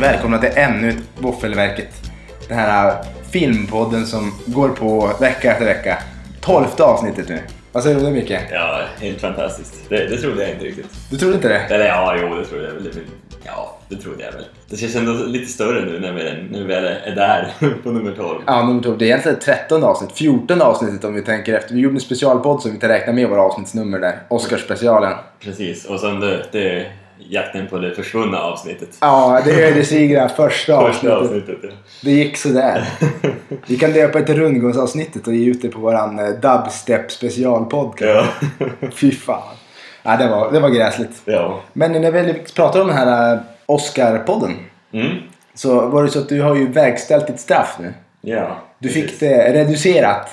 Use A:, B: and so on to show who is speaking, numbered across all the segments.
A: välkomna till ännu ett Våffelverket. Den här filmpodden som går på vecka efter vecka. Tolfte avsnittet nu. Vad säger du nu Micke?
B: Ja, helt fantastiskt. Det, det trodde jag inte riktigt.
A: Du trodde inte det?
B: Eller ja, jo, det trodde jag väl. Det- Ja, det trodde jag väl. Det känns ändå lite större nu när vi, när vi väl är där på nummer 12.
A: Ja, nummer tolv. Det är egentligen trettonde avsnitt. Fjortonde avsnittet om vi tänker efter. Vi gjorde en specialpodd som vi inte räknar med i våra avsnittsnummer där. Oscarsspecialen.
B: Precis, och sen det, det är jakten på det försvunna avsnittet.
A: Ja, det är ödesdigra första
B: Första
A: avsnittet.
B: avsnittet, ja.
A: Det gick sådär. Vi kan döpa ett rundgångsavsnittet och ge ut det på våran eh, dubstep specialpodd.
B: ja.
A: Fy fan. Ja, det var, det var gräsligt.
B: ja.
A: Men när vi pratar om den här eh, Oscar-podden
B: Mm.
A: så var det så att du har ju verkställt ditt straff nu.
B: Ja.
A: Du
B: precis.
A: fick det reducerat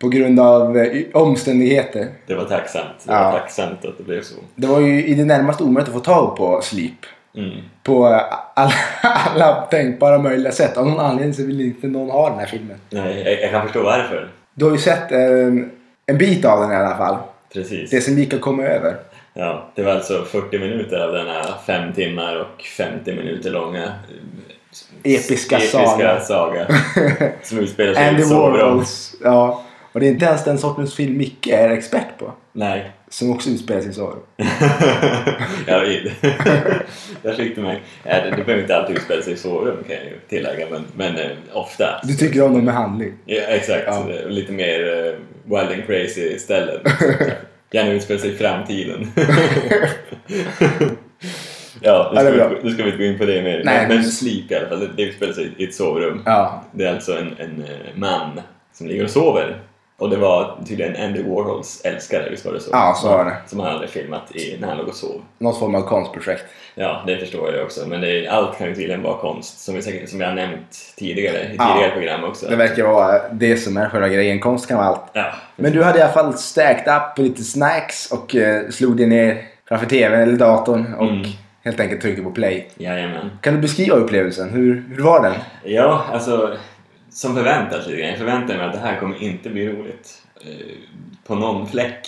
A: på grund av eh, y- omständigheter.
B: Det var tacksamt. Det
A: Ja.
B: var tacksamt att det blev så.
A: Det var ju i det närmaste omöjligt att få tag på Sleep.
B: Mm.
A: På eh, alla, alla tänkbara möjliga sätt. Av någon anledning så vill inte någon ha den här filmen.
B: Nej, jag, jag kan förstå varför.
A: Du har ju sett en, en bit av den i alla fall.
B: Precis.
A: Det som gick att komma över.
B: Ja, det var alltså 40 minuter av den här 5 timmar och 50 minuter långa eh,
A: Episka
B: episka saga. som utspelar sig i
A: Andy
B: ett sovrum.
A: Warhols. Ja. Och det är inte ens den sortens film Micke är expert på.
B: Nej.
A: Som också utspelar sig i sovrum.
B: jag vet. Där fick du mig. Ja, Det, det behöver inte alltid utspela sig i sovrum kan jag ju tillägga, men, men eh, ofta.
A: Du tycker om dem med handling.
B: Ja, exakt.
A: Ja.
B: Eh, Lite mer eh, wild and crazy ställen. Gärna utspelar sig i framtiden. ja,
A: Ja, det
B: nu
A: är
B: ska,
A: bra.
B: vi, nu ska vi inte gå in på det mer.
A: Nej,
B: men, men
A: men-
B: Sleep i alla fall, det, det utspelar sig i ett sovrum.
A: Ja.
B: Det är alltså en, en eh, man som ligger och sover. Och det var tydligen Andy Warhols älskare, visst var det så?
A: Ja, så var det.
B: Som han hade filmat i, när han låg och sov.
A: Något form av konstprojekt.
B: Ja, det förstår jag också. Men det är, allt kan ju tydligen vara konst, som, vi, säkert- som jag har nämnt tidigare i
A: Ja.
B: tidigare program också.
A: Det verkar vara det som är själva grejen. Konst kan vara allt.
B: Ja,
A: Men du hade i alla fall stacked up på lite snacks och eh, slog dig ner framför tvn eller datorn och
B: Mm.
A: helt enkelt tryckte på play.
B: jajamän.
A: Kan du beskriva upplevelsen? Hur, hur var den?
B: Ja, alltså som förväntat lite grann. Jag förväntar mig att det här kommer inte bli roligt. eh, På någon fläck.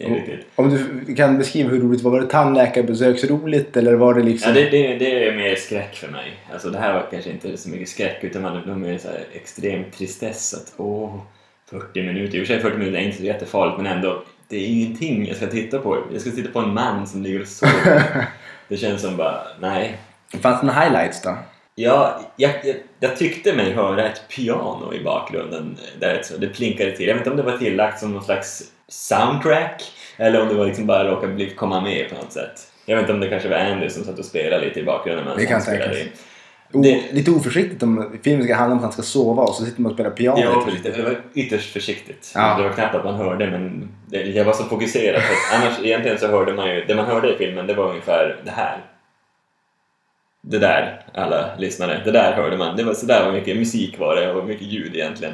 A: Oh.
B: eh, Riktigt.
A: Om du kan beskriva hur roligt var, var det tandläkarbesöksroligt eller var det liksom...
B: Ja, det, det, det är mer skräck för mig. Alltså, det här var kanske inte så mycket skräck utan man blev mer så här extrem tristess. Att, åh, 40 minuter. I och för sig 40 minuter är inte så jättefarligt men ändå. Det är ingenting jag ska titta på. Jag ska titta på en man som ligger och sover. Det känns som bara, nej.
A: Fanns det några highlights då?
B: Ja, jag, jag, jag tyckte mig höra ett piano i bakgrunden. Där ett så- det plinkade till. Jag vet inte om det var tillagt som någon slags soundtrack eller om det var liksom bara råkade bli, komma med på något sätt. Jag vet inte om det kanske var Andy som satt och spelade lite i bakgrunden. medan
A: Det kan
B: han spelade
A: säkert.
B: in.
A: O-
B: Det-
A: Lite oförsiktigt om filmen ska handla om att han ska sova och så sitter man och spelar piano.
B: Ja, för lite, det var ytterst försiktigt.
A: Ja.
B: Det var knappt att man hörde, men det, jag var så fokuserad. För att annars, egentligen så hörde man ju, det man hörde i filmen, det var ungefär det här. Det där, alla lyssnare. Det där hörde man. Det var, så där var mycket musik var det och mycket ljud egentligen.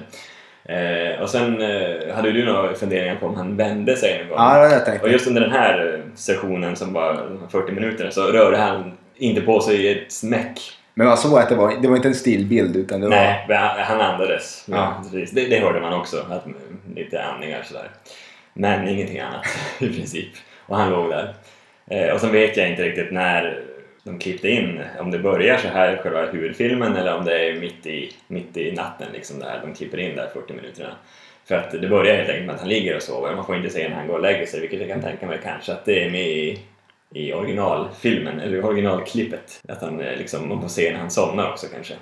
B: Eh, och sen eh, hade du några funderingar på om han vände sig någon gång?
A: Ja, det var det jag tänkte.
B: Och just under den här eh, sessionen som var de här 40 minuterna så rörde han inte på sig i ett smäck.
A: Men man såg att det var, det var inte en stillbild utan det var...
B: Nej, men han han andades.
A: Ja.
B: Precis. Det, det hörde man också, att, mm, lite andningar sådär. Men ingenting annat i princip. Och han låg där. Eh, och sen vet jag inte riktigt när de klippte in, om det börjar så här själva huvudfilmen eller om det är mitt i, mitt i natten liksom där de klipper in där 40 minuterna. För att det börjar helt enkelt med att han ligger och sover, man får inte se när han går och lägger sig vilket jag kan tänka mig kanske att det är med i, i originalfilmen, eller originalklippet. Att han eh, liksom, man får se när han somnar också kanske.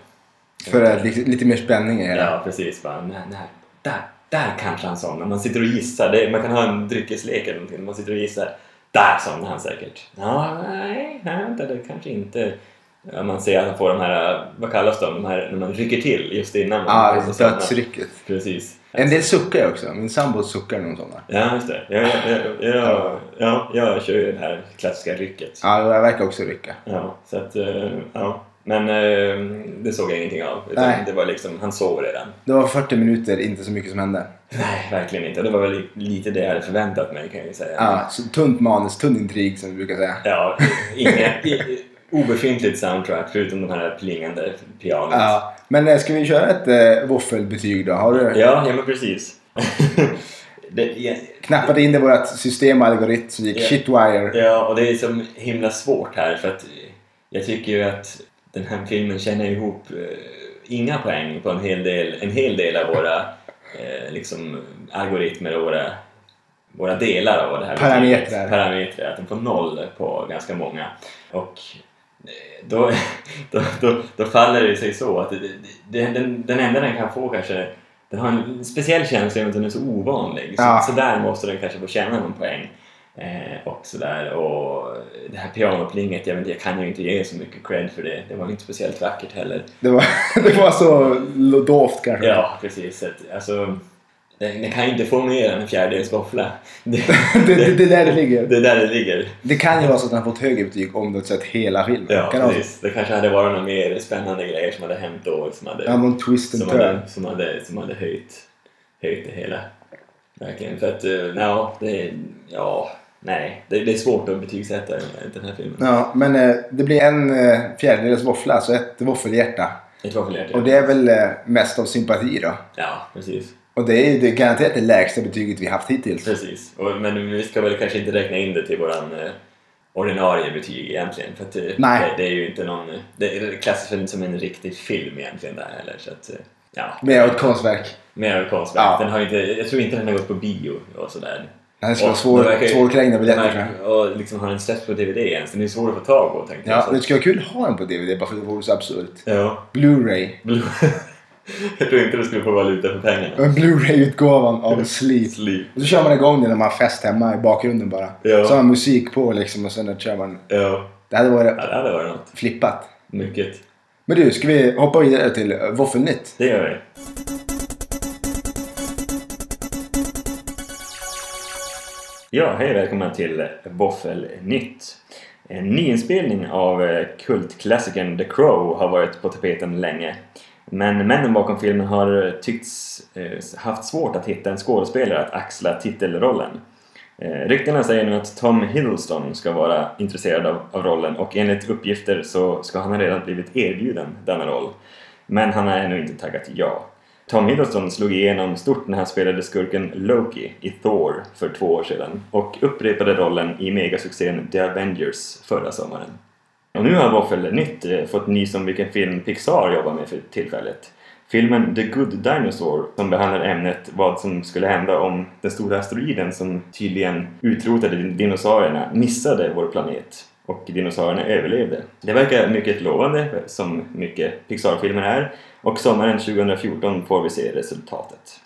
A: För att lite, lite mer spänning i det. hela.
B: Ja, precis. Bara, nej, nej, där, där kanske han somnar. Man sitter och gissar. Det, man kan ha en dryckeslek eller någonting. Man sitter och gissar. Där somnar han säkert. Ja, nej, nej, vänta, det kanske inte... Ja, man ser att han får de här, vad kallas de, de här när man rycker till just innan man
A: Ja,
B: går och somnar.
A: Ah, dödsrycket.
B: Precis.
A: En del suckar ju också. Min sambo suckar när hon somnar.
B: Ja, just det. Jag, jag, jag, jag, ja, jag kör ju det här klassiska rycket.
A: Ja, jag verkar också rycka.
B: Ja, så att, eh, ja. Men eh, det såg jag ingenting av. Utan
A: Nej.
B: Det var liksom, han sov redan.
A: Det var 40 minuter, inte så mycket som hände.
B: Nej, verkligen inte. Och det var väl li- lite det jag hade förväntat mig kan jag ju säga.
A: Ja, så tunt manus, tunn intrig som vi brukar säga.
B: Ja, inga, i, obefintligt soundtrack förutom de här plingande pianot.
A: Ja, men eh, ska vi köra ett eh, våffelbetyg då? Har du
B: ja, ja men precis. det, ja,
A: knappat in det i vårt system och algoritm som gick
B: Ja.
A: shitwire?
B: ja, och det är så himla svårt här för att jag tycker ju att den här filmen känner ihop eh, inga poäng på en hel del, en hel del av våra eh, liksom, algoritmer och våra, våra delar av vad det här
A: Parametrar.
B: betyder. Parametrar. Att den får noll på ganska många. Och eh, då, då, då, då faller det sig så att det- det- det- den, den enda den kan få kanske den har en speciell känsla i och med att den är så ovanlig. Så,
A: Ja.
B: så där måste den kanske få tjäna någon poäng. Eh, och sådär. Och det här pianoplinget, jag, vet, inte, jag kan ju inte ge så mycket cred för det. Det var inte speciellt vackert heller.
A: Det var, det var så dovt kanske.
B: Ja, precis. Så att, Alltså, den, den kan ju inte få mer än en fjärdedels våffla. Det,
A: Det, det, det är där det ligger.
B: det är där det ligger.
A: Det kan ju vara så att han fått högre betyg om du har sett hela filmen.
B: Ja,
A: kan vara så.
B: precis. Det kanske hade varit några mer spännande grejer som hade hänt då. Som hade,
A: Ja, någon twist and
B: som
A: turn.
B: hade, som hade, som hade höjt, höjt det hela. Verkligen. För att, eh, ja, det, ja, nej. Det, det är svårt att betygsätta den, den här filmen.
A: Ja, men eh, det blir en eh, fjärdedels våffla, så ett våffelhjärta.
B: Ett våffelhjärta.
A: Och det är väl eh, mest av sympati då.
B: Ja, precis.
A: Och det är ju det är garanterat det lägsta betyget vi haft hittills.
B: precis. Och, men vi ska väl kanske inte räkna in det till våran eh, ordinarie betyg egentligen. För att, eh,
A: Nej.
B: Det, det är ju inte någon... eh, Det, det klassas väl inte som en riktig film egentligen där heller. Så att, eh, ja.
A: Mer av ett konstverk.
B: Mer av ett konstverk.
A: Ja.
B: Den har ju inte, jag tror inte den har gått på bio och sådär.
A: Den ska vara
B: Och
A: svår,
B: det verkar ju-
A: svårkrängda biljetter
B: Nej,
A: tror jag.
B: Och liksom har den släppts på DVD ens? Den är ju svår att få tag på tänkte
A: Ja,
B: jag.
A: det
B: Så.
A: skulle vara kul att ha den på DVD bara för att det vore så absurt.
B: Ja.
A: Blu-ray.
B: Blue- jag tror inte du skulle få valuta för pengarna.
A: En Blu-ray-utgåvan av Sleep.
B: Sleep.
A: Och så kör man igång den när man har fest hemma i bakgrunden bara.
B: Ja.
A: Så har man musik på liksom och sen kör man.
B: Ja.
A: Det hade varit
B: ja, det hade varit något.
A: flippat.
B: Mycket.
A: Men du, ska vi hoppa vidare till eh, Våffelnytt?
B: Det gör vi. Ja, hej och välkomna till Våffelnytt. En nyinspelning av eh, kultklassikern The Crow har varit på tapeten länge. Men männen bakom filmen har tyckts eh, haft svårt att hitta en skådespelare att axla titelrollen. Eh, Ryktena säger nu att Tom Hiddleston ska vara intresserad av, av rollen och enligt uppgifter så ska han ha redan blivit erbjuden denna roll. Men han har ännu inte taggat ja. Tom Hiddleston slog igenom stort när han spelade skurken Loki i Thor för två år sedan och upprepade rollen i megasuccén The Avengers förra sommaren. Och nu har Waffle Nytt eh, fått nys om vilken film Pixar jobbar med för tillfället. Filmen The Good Dinosaur som behandlar ämnet vad som skulle hända om den stora asteroiden som tydligen utrotade din- dinosaurierna missade vår planet och dinosaurierna överlevde. Det verkar mycket lovande, som mycket Pixar-filmer är, och sommaren 2014 får vi se resultatet.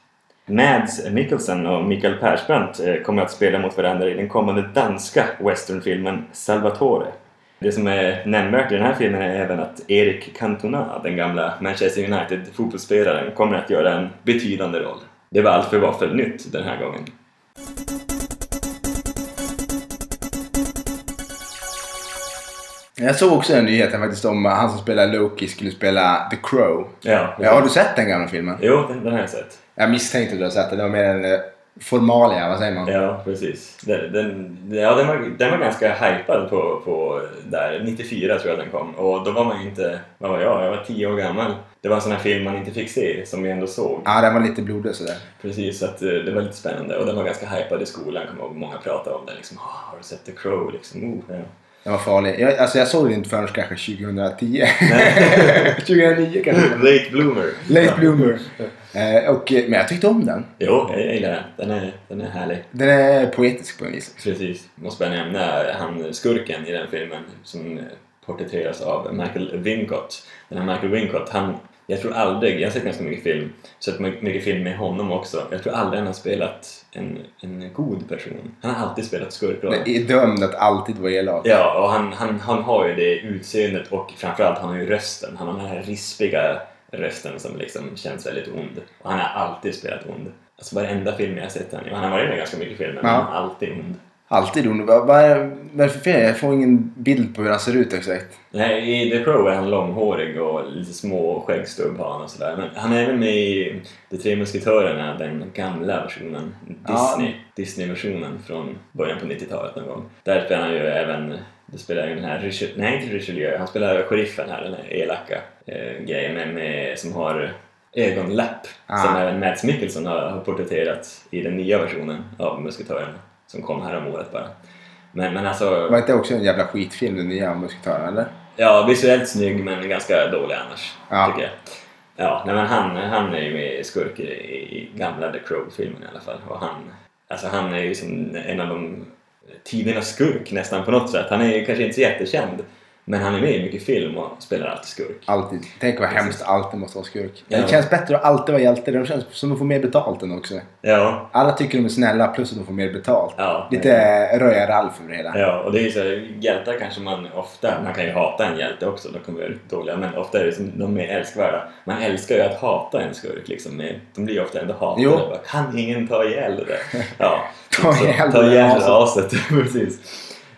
B: Mads Mikkelsen och Mikael Persbrandt eh, kommer att spela mot varandra i den kommande danska westernfilmen Salvatore. Det som är nämnvärt i den här filmen är även att Erik Cantona, den gamla Manchester United-fotbollsspelaren, kommer att göra en betydande roll. Det var allt för Vaffelnytt den här gången.
A: Jag såg också den nyheten faktiskt om eh, han som spelar Loki skulle spela The Crow.
B: Ja,
A: Ja, har du sett den gamla filmen?
B: Jo, den, den har jag sett.
A: Jag misstänkte att du hade sett den. Det var mer en eh, formalia, vad säger man?
B: Ja, precis. Den, den, ja, den, var, den var ganska hypad på, på där, 94 tror jag den kom. Och då var man ju inte, vad var jag? Jag var 10 år gammal. Det var en sån här film man inte fick se, som vi ändå såg.
A: Ja, den var lite blodig och sådär.
B: Precis, så att eh, det var lite spännande och den var ganska hypad i skolan, kommer jag ihåg. Många pratade om den liksom. "Ah, har du sett The Crow? Liksom, oh, ja.
A: Den var farlig. Jag, alltså jag såg den inte förrän kanske 2010. 2009 kanske.
B: Late bloomer.
A: Late bloomer. Eh, och, eh, men jag tyckte om den.
B: Jo, jag gillar den. Den är, den är härlig.
A: Den är poetisk på en vis.
B: Precis. Måste bara nämna han skurken i den filmen som eh, porträtteras av Michael Wincott. Den här Michael Wincott, han... Jag tror aldrig, jag har sett ganska mycket film, sett my- mycket film med honom också. Jag tror aldrig han har spelat en, en god person. Han har alltid spelat skurkroller.
A: Den är dömd att alltid vara elak.
B: Ja, och han, han, han har ju det utseendet och framförallt han har ju rösten. Han har den här rispiga rösten som liksom känns väldigt ond. Och han har alltid spelat ond. Alltså varenda film jag har sett han i. och Han har varit med i ganska mycket filmer, men
A: Ja.
B: han är alltid ond.
A: Alltid ond. Vad vad är vad är det för fel? Jag får ingen bild på hur han ser ut exakt.
B: Nej, I The Crow är han långhårig och lite små skäggstubb har han och sådär. Men han är även med i De tre musketörerna, den gamla versionen.
A: Ja.
B: Disney. Disney-versionen från början på 90-talet någon gång. Där spelar han ju även, det spelar ju den här, Richel, nej inte Richelieu, han spelar sheriffen här, den här elaka eh, grejen med, med, som har ögonlapp.
A: Ah.
B: Som även Mads Mikkelsen har, har porträtterat i den nya versionen av Musketörerna. Som kom här om året bara. Men, men alltså...
A: Var inte det också en jävla skitfilm den nya om musketörerna eller?
B: Ja, visuellt snygg men ganska dålig annars.
A: Ja.
B: Tycker jag. Ja, nej, men han, han är ju med i skurk i, i gamla The Crow-filmen i alla fall. Och han, alltså han är ju som en av de tidernas skurk nästan på något sätt. Han är ju kanske inte så jättekänd. Men han är med i mycket film och spelar alltid skurk.
A: Alltid. Tänk vad hemskt alltid måste vara skurk.
B: Ja.
A: Det känns bättre att alltid vara hjälte. De känns som att de får mer betalt än också.
B: Ja,
A: Alla tycker de är snälla plus att de får mer betalt.
B: ja.
A: Lite röja Ralf över det hela.
B: Ja, och det är ju så här, hjältar kanske man ofta, man kan ju hata en hjälte också, de kommer vara riktigt dåliga, men ofta är det som, de är älskvärda. Man älskar ju att hata en skurk liksom, men de blir ju ofta ändå hatade.
A: Jo.
B: Bara, kan ingen ta ihjäl det där? Ja,
A: Ta
B: så,
A: ihjäl
B: ta
A: det där
B: ihjäl
A: aset.
B: aset. precis.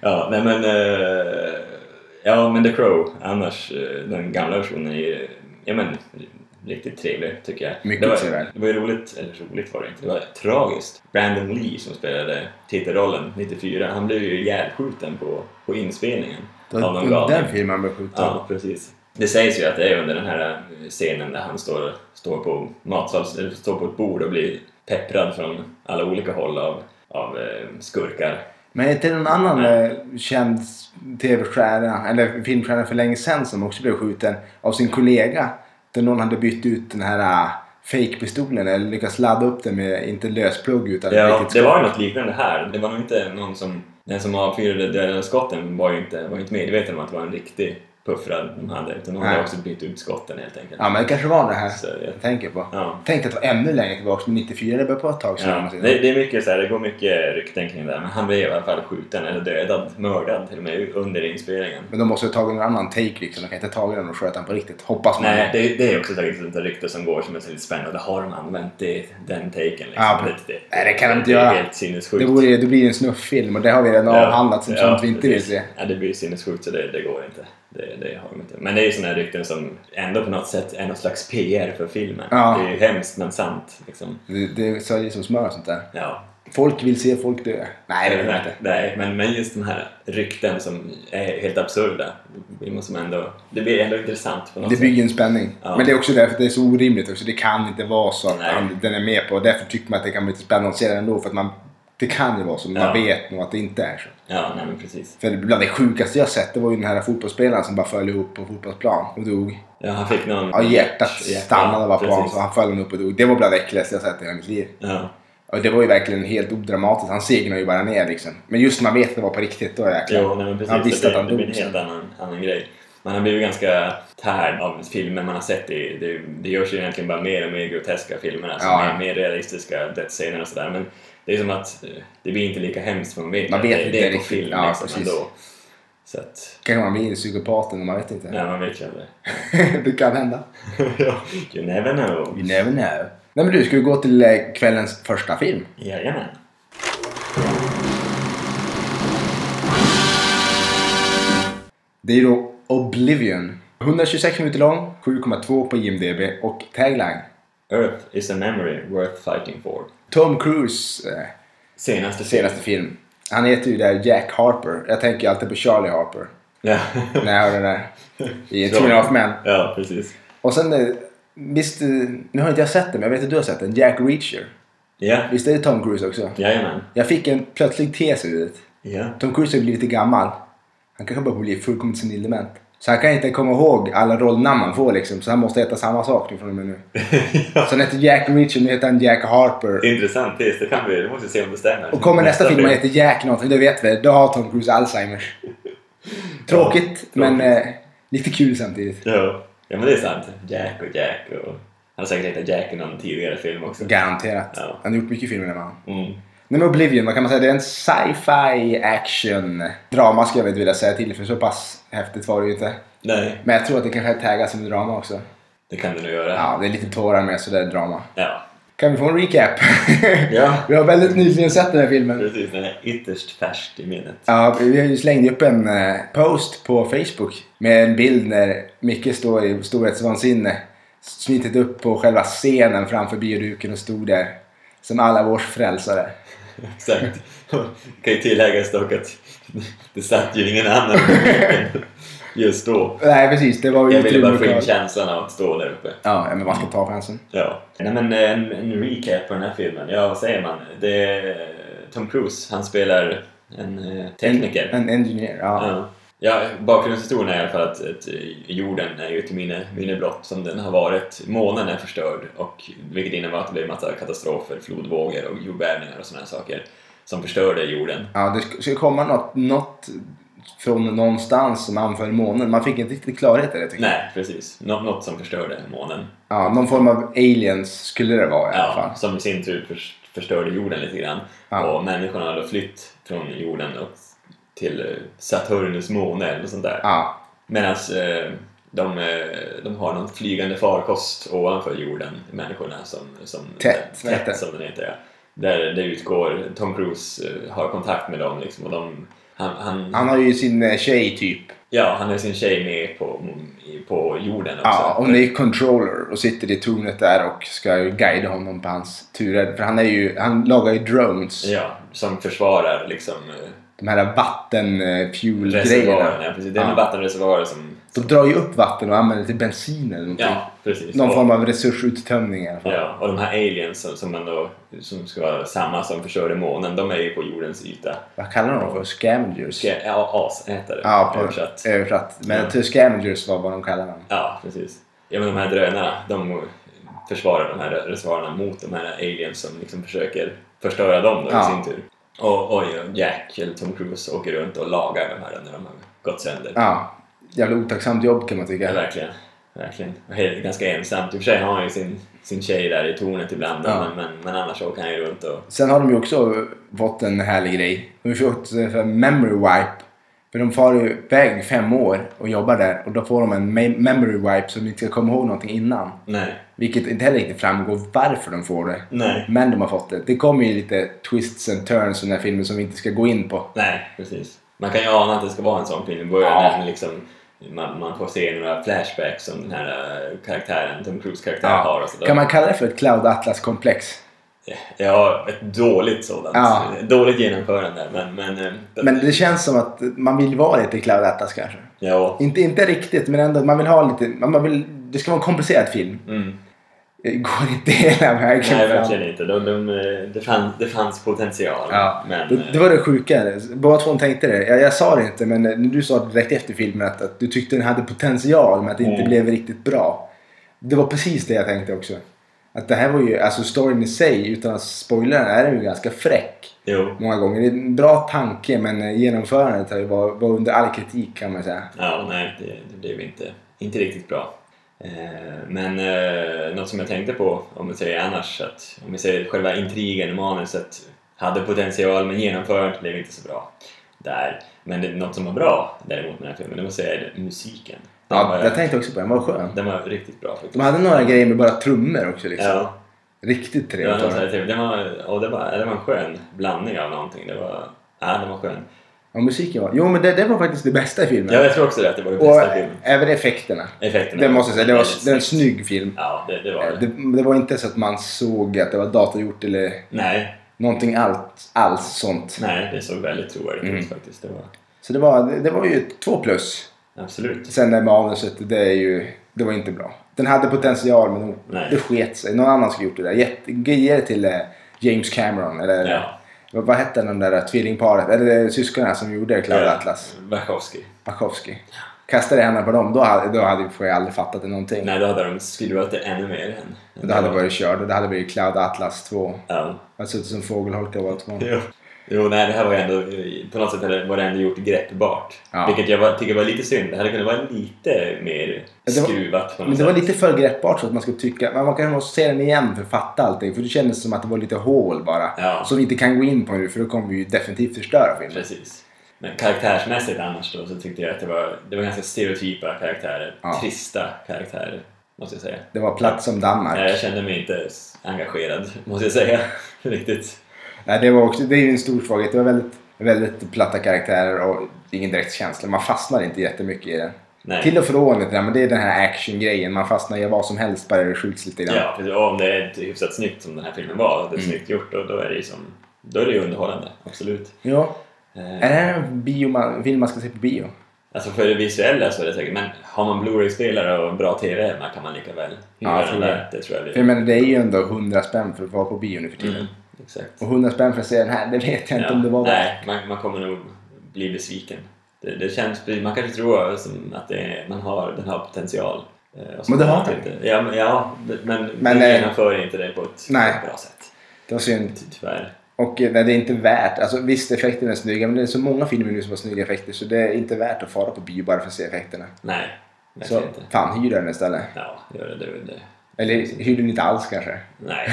B: Ja, nej men... eh, ja, men The Crow, annars eh, den gamla versionen är ju, ja men, riktigt trevlig tycker jag.
A: Mycket
B: det var,
A: trevlig.
B: Det var ju roligt, eller roligt var det inte, det var tragiskt. Brandon Lee som spelade titelrollen 94, han blev ju ihjälskjuten på, på inspelningen.
A: Det var
B: av någon
A: under
B: galning.
A: den filmen blev skjuten.
B: Ja, precis. Det sägs ju att det är under den här eh, scenen där han står, står, på, matsals, eller står på ett bord och blir pepprad från alla olika håll av, av eh, skurkar.
A: Men är inte det någon annan
B: Nej.
A: eh, känd tv-stjärna eller filmstjärna för länge sedan som också blev skjuten av sin kollega? Där någon hade bytt ut den här eh, fake-pistolen eller lyckats ladda upp den med, inte lösplugg utan
B: Ja,
A: riktigt
B: det
A: skott.
B: var ju något liknande här. Det var nog inte någon som... Den som avfyrade de där skotten var ju inte, var ju inte medveten om att det var en riktig puffrad de hade. Utan de hade
A: Nej.
B: också bytt ut skotten helt enkelt.
A: Ja, men det kanske var det här
B: Så, jag,
A: jag tänker på.
B: ja.
A: Tänk att det var ännu längre tillbaka, men 94, det började på ett tag sedan. om
B: Ja,
A: man säger.
B: det, det är mycket så här, det går mycket rykten kring det här, men han blev i alla fall skjuten eller dödad, mördad till och med under inspelningen.
A: Men de måste ha tagit någon annan take liksom. De kan inte ha tagit den och sköt den på riktigt. Hoppas man.
B: Nej, det, det är också säkert ett sånt där rykte som går som är så lite spännande. Har de använt det, den taken? Liksom?
A: Ja, men-
B: det, det,
A: Nej, det kan de inte
B: det
A: göra.
B: är helt sinnessjukt.
A: Det, vore, det blir en snufffilm och det har vi redan avhandlat som sånt vi inte vill
B: precis.
A: se.
B: Ja, det blir sinnessjukt så det, det går inte. Det, det har de inte. Men det är ju såna här rykten som ändå på något sätt är någon slags PR för filmen.
A: Ja.
B: Det är ju hemskt men sant. Liksom.
A: Det, det säljer som smör och sånt där.
B: Ja.
A: Folk vill se folk dö. Nej, det vill jag inte.
B: Nej, men, men just de här rykten som är helt absurda. Det blir, man som ändå, det blir ändå intressant på något
A: Det
B: sätt.
A: bygger en spänning.
B: Ja.
A: Men det är också därför det är så orimligt också. Det kan inte vara så att
B: Nej.
A: han- den är med på. Och därför tycker man att det kan bli lite spännande att se den ändå. För att man, det kan ju vara så. men Man
B: Ja.
A: vet nog att det inte är så.
B: Ja, nej men precis.
A: För bland det sjukaste jag sett det var ju den här fotbollsspelaren som bara föll ihop på fotbollsplan och dog.
B: Ja, han fick någon...
A: Ja, hjärtat
B: Hjärta,
A: stannade bara på honom
B: precis.
A: så han föll upp och dog. Det var bland det äckligaste jag sett i hela mitt liv.
B: Ja.
A: Och det var ju verkligen helt odramatiskt. Han segnade ju bara ner liksom. Men just när man vet att det var på riktigt, då jäklar.
B: Jo, nej, men precis.
A: Han visste
B: det,
A: att han
B: det blir en
A: dog liksom.
B: helt annan, annan grej. Man har blivit ganska tärd av filmer man har sett. Det, det, det görs ju egentligen bara mer och mer groteska filmer. Alltså
A: Ja.
B: mer, mer realistiska dödsscener och sådär. Men det är som att eh, det blir inte lika hemskt för man vet,
A: Man
B: att
A: vet
B: det,
A: inte
B: det är på
A: riktigt.
B: film
A: Ja,
B: liksom,
A: precis.
B: ändå. Så att,
A: Kanske man blir psykopaten, man vet inte.
B: nej, man vet ju aldrig.
A: det kan hända.
B: Ja, you never know.
A: You never know. Nej men du, ska vi gå till eh, kvällens första film?
B: Jajamän.
A: Det är då Oblivion. 126 minuter lång, 7,2 på IMDB och tagline.
B: Earth is a memory worth fighting for.
A: Tom Cruise eh,
B: Senaste
A: senaste film. Han heter ju där Jack Harper. Jag tänker ju alltid på Charlie Harper.
B: Ja.
A: När jag hör den där. I Two and a Half Men.
B: ja, precis.
A: Och sen, eh, visst, eh, nu har inte jag sett den men jag vet att du har sett den. Jack Reacher.
B: Ja,
A: Visst är det Tom Cruise också?
B: jajamän.
A: Jag fick en plötslig tes ur det.
B: Ja.
A: Tom Cruise har blivit lite gammal. Han kanske börjar bli fullkomligt senildement. Så han kan inte komma ihåg alla rollnamn han får liksom. Så han måste heta samma sak nu från och med nu.
B: ja.
A: Så han heter Jack Reacher, nu heter han Jack Harper.
B: Intressant tes, det kan vi, det måste vi se om det stämmer.
A: Och kommer nästa film och heter Jack någonting, då vet vi. Då har Tom Cruise Alzheimers. Tråkigt, men eh, lite kul samtidigt.
B: Ja. ja, men det är sant. Jack och Jack och... Han har säkert hetat Jack i någon tidigare film också.
A: Garanterat.
B: Ja.
A: Han har gjort mycket filmer den man.
B: Mm.
A: Nej men Oblivion, vad kan man säga? Det är en sci-fi action drama skulle jag väl vilja säga till för så pass häftigt var det ju inte.
B: Nej,
A: Men jag tror att det kanske är taggat som drama också.
B: det kan du nog göra.
A: Ja, det är lite tårar med sådär drama.
B: ja.
A: Kan vi få en recap?
B: Ja.
A: vi har väldigt nyligen sett den här filmen.
B: Precis, den är ytterst färskt i minnet.
A: Ja, vi slängde upp en eh, post på Facebook med en bild när Micke står i storhetsvansinne. Smitit upp på själva scenen framför bioduken och stod där. Som alla vårs frälsare.
B: Exakt. Det kan ju tilläggas dock att det satt ju ingen annan i publiken just då.
A: Nej precis, det var ju
B: Jag ville bara få
A: utrymme
B: in
A: kvar.
B: känslan av att stå där uppe.
A: Ja, men man ska ta chansen.
B: Ja. Nej, men eh, en, en recap på den här filmen. Ja, vad säger man? Det är Tom Cruise. Han spelar en eh, tekniker.
A: En engineer, ja.
B: Ja. Ja, bakgrundshistorien är i alla fall att, att jorden är ju ett minne, minne blott som den har varit. Månen är förstörd, och, vilket innebär att det blev en massa katastrofer, flodvågor och jordbävningar och sådana här saker som förstörde jorden.
A: Ja, det sk- skulle komma något, något från någonstans som anföll månen. Man fick inte riktigt klarhet i det tycker jag.
B: Nej, precis. Nå- något som förstörde månen.
A: Ja, någon form av aliens skulle det vara i alla fall.
B: Ja, som i sin tur förs- förstörde jorden lite grann.
A: Ja.
B: Och människorna hade flytt från jorden och till eh, Saturnus måne eller något sånt där.
A: Ja,
B: Medan eh, de, eh, de har någon flygande farkost ovanför jorden, människorna som... som
A: Tätt,
B: Tätt,
A: heter det.
B: som den heter, ja. Där det utgår, Tom Cruise eh, har kontakt med dem liksom och de... Han, han,
A: han har ju sin eh, tjej typ.
B: ja, han har sin tjej med på, i- på jorden också.
A: Ja, hon är ju controller och sitter i tornet där och ska ju guida honom på hans turer. För han, är ju, han lagar ju drones.
B: Ja, som försvarar liksom eh,
A: De här vattenfuel-grejerna.
B: reservoarerna. Ja, precis. Det är
A: Ja.
B: en vattenreservoarer som...
A: De drar ju upp vatten och använder det till bensin eller någonting.
B: Ja, precis.
A: Någon
B: Och-
A: form av resursuttömning i alla fall.
B: Ja, och de här aliens som, som, ändå, som ska vara samma som förstörde månen, de är ju på jordens yta.
A: Vad kallar de dem för? Scavengers?
B: Ska- Ja, asätare.
A: Ja, på
B: översatt.
A: översatt. Men
B: Ja.
A: ja. scavengers var vad de kallar dem.
B: Ja, precis. Ja, men de här drönarna, de försvarar de här reservoarerna mot de här aliens som liksom försöker förstöra dem då,
A: Ja.
B: i sin tur. Och, och Jack, eller Tom Cruise, åker runt och lagar de här när de har gått sönder.
A: Ja, jävla otacksamt jobb kan man
B: Ja,
A: tycka.
B: verkligen. Verkligen. Och helt- Ganska ensamt. I och för sig har han ju sin, sin tjej där i tornet ibland,
A: Ja.
B: men, men, men annars åker han ju runt och...
A: Sen har de ju också fått en härlig grej. De har ju fått eh, för memory wipe. För de far ju iväg fem år och jobbar där och då får de en me- memory wipe som inte ska komma ihåg någonting innan.
B: Nej.
A: Vilket inte heller riktigt framgår varför de får det.
B: Nej.
A: Men de har fått det. Det kommer ju lite twists and turns i den här filmen som vi inte ska gå in på.
B: Nej, precis. Man kan ju ana att det ska vara en sån film i början
A: Ja.
B: när den liksom, man, man får se några flashbacks som den här eh, karaktären, Tom Cruise karaktär har. Och så
A: Kan man kalla det för ett Cloud Atlas-komplex?
B: Ja, ett dåligt sådant.
A: Ja.
B: Ett Dåligt genomförande, men... men, eh,
A: Men det känns som att man vill vara lite Cloud Atlas kanske.
B: Ja.
A: Inte, inte riktigt, men ändå. Man vill ha lite... Man man vill, det ska vara en komplicerad film.
B: Mm.
A: Det går inte hela vägen
B: Nej,
A: fram.
B: verkligen inte. De, de, eh, det, fanns, det fanns potential.
A: Ja,
B: Men,
A: det, det
B: eh,
A: var det sjuka. Båda två tänkte det. Jag, jag sa det inte, men eh, du sa det direkt efter filmen att, att du tyckte den hade potential, men att det inte
B: Mm.
A: blev riktigt bra. Det var precis det jag tänkte också. Att det här var ju, alltså storyn i sig, utan att spoila den, är den ju ganska fräck.
B: jo.
A: Många gånger. Det är en bra tanke, men eh, genomförandet har ju var, var under all kritik kan man säga.
B: Ja, nej, det, det blev inte, inte riktigt bra. Eh, Men eh, något som jag tänkte på, om vi säger annars, att om vi säger själva intrigen i manuset hade potential men genomförandet blev inte så bra. Där. Men det, något som var bra däremot med den här filmen, det måste jag säga, är musiken. Den,
A: Ja,
B: var,
A: jag tänkte också på den, var skön.
B: den var riktigt bra faktiskt.
A: De hade några grejer med bara trummor också liksom.
B: Ja,
A: Riktigt
B: det var,
A: trevligt.
B: något
A: var
B: så
A: det.
B: här, typ, det var, och det, var, det var en skön blandning av någonting. Det var, ja, det var skön.
A: Ja, musiken var... Jo, men det, det var faktiskt det bästa i filmen.
B: Ja, jag tror också det, att det var den
A: Och
B: bästa filmen.
A: även effekterna.
B: Effekterna.
A: Det måste jag säga, det var, det var en
B: väldigt snyggt.
A: snygg film.
B: Ja, det, det var det.
A: Det, det var inte så att man såg att det var datorgjort eller
B: Nej,
A: någonting allt, alls sånt.
B: Nej, det såg väldigt trovärdigt ut
A: Mm.
B: faktiskt. Det var...
A: Så det var, det var ju två plus.
B: Absolut.
A: Sen det manuset, det är ju... Det var inte bra. Den hade potential men
B: Nej.
A: det sket sig. Någon annan skulle gjort det där. Jätte, ge det till eh, James Cameron eller...
B: Ja.
A: Vad, vad hette de där tvillingparet, eller eh, syskonen som gjorde Cloud Atlas?
B: Wachowski.
A: Wachowski. Kastade jag händerna på dem, då hade, då hade jag aldrig fattat någonting.
B: Nej, då hade de skruvat det ännu mer än...
A: Det hade varit körd och det hade blivit Cloud Atlas 2.
B: Ja.
A: Jag har suttit som fågelholkar båda två.
B: Jo. jo, nej, det här var ju ändå... På något sätt hade- var det ändå gjort greppbart.
A: Ja.
B: Vilket jag var, tycker var lite synd. Det hade kunnat vara lite mer
A: Ja, det var-
B: skruvat på något
A: Men det var
B: sätt.
A: lite för greppbart så att man skulle tycka, men man kanske måste se den igen för att fatta allting. För det kändes som att det var lite hål bara.
B: Ja.
A: Som vi inte kan gå in på nu för då kommer vi ju definitivt förstöra filmen.
B: Precis. Men karaktärsmässigt annars då så tyckte jag att det var, det var ganska stereotypa karaktärer.
A: Ja.
B: Trista karaktärer, måste jag säga.
A: Det var platt som Danmark.
B: Nej, Jag kände mig inte engagerad, måste jag säga. Riktigt.
A: Nej, det, var också, det är ju en stor svaghet. Det var väldigt, väldigt platta karaktärer och ingen direkt känsla. Man fastnar inte jättemycket i den.
B: Nej.
A: Till och från lite grann, men det är den här actiongrejen. Man fastnar i vad som helst bara det skjuts lite grann.
B: Ja, precis. Och om det är hyfsat snyggt som den här filmen var, det är
A: Mm.
B: snyggt gjort, då, då är det ju som, då är det ju underhållande. Absolut.
A: Ja.
B: Eh,
A: Är det här en bio man, film man ska se på bio?
B: Alltså för det visuella så är det säkert, men har man Blu-ray-spelare och bra TV hemma kan man lika väl
A: Ja,
B: hyra
A: jag
B: den
A: tror det.
B: där. Det tror jag
A: För jag
B: blir.
A: menar, det är ju ändå 100 spänn för att vara på bio nu för tiden.
B: Mm, exakt.
A: Och 100 spänn för att se den här, det vet jag inte
B: Ja,
A: om det var värt.
B: nej, man, man kommer nog bli besviken. Det, det känns, man kanske tror som att det, är- man har, den har potential. eh, och så
A: Men det har
B: vet
A: den.
B: inte. Ja, men, ja, det- men,
A: Men,
B: vi
A: eh,
B: genomför inte det på ett
A: nej.
B: bra sätt.
A: Det var synd.
B: Ty- Tyvärr.
A: Och eh, nej, det är inte värt. Alltså, visst, effekterna är snygga, men det är så många filmer nu som har snygga effekter så det är inte värt att fara på bio bara för att se effekterna.
B: Nej, verkligen
A: Så
B: inte.
A: fan, hyr den istället.
B: Ja, gör det du. Det.
A: Eller hyr den inte alls kanske.
B: Nej,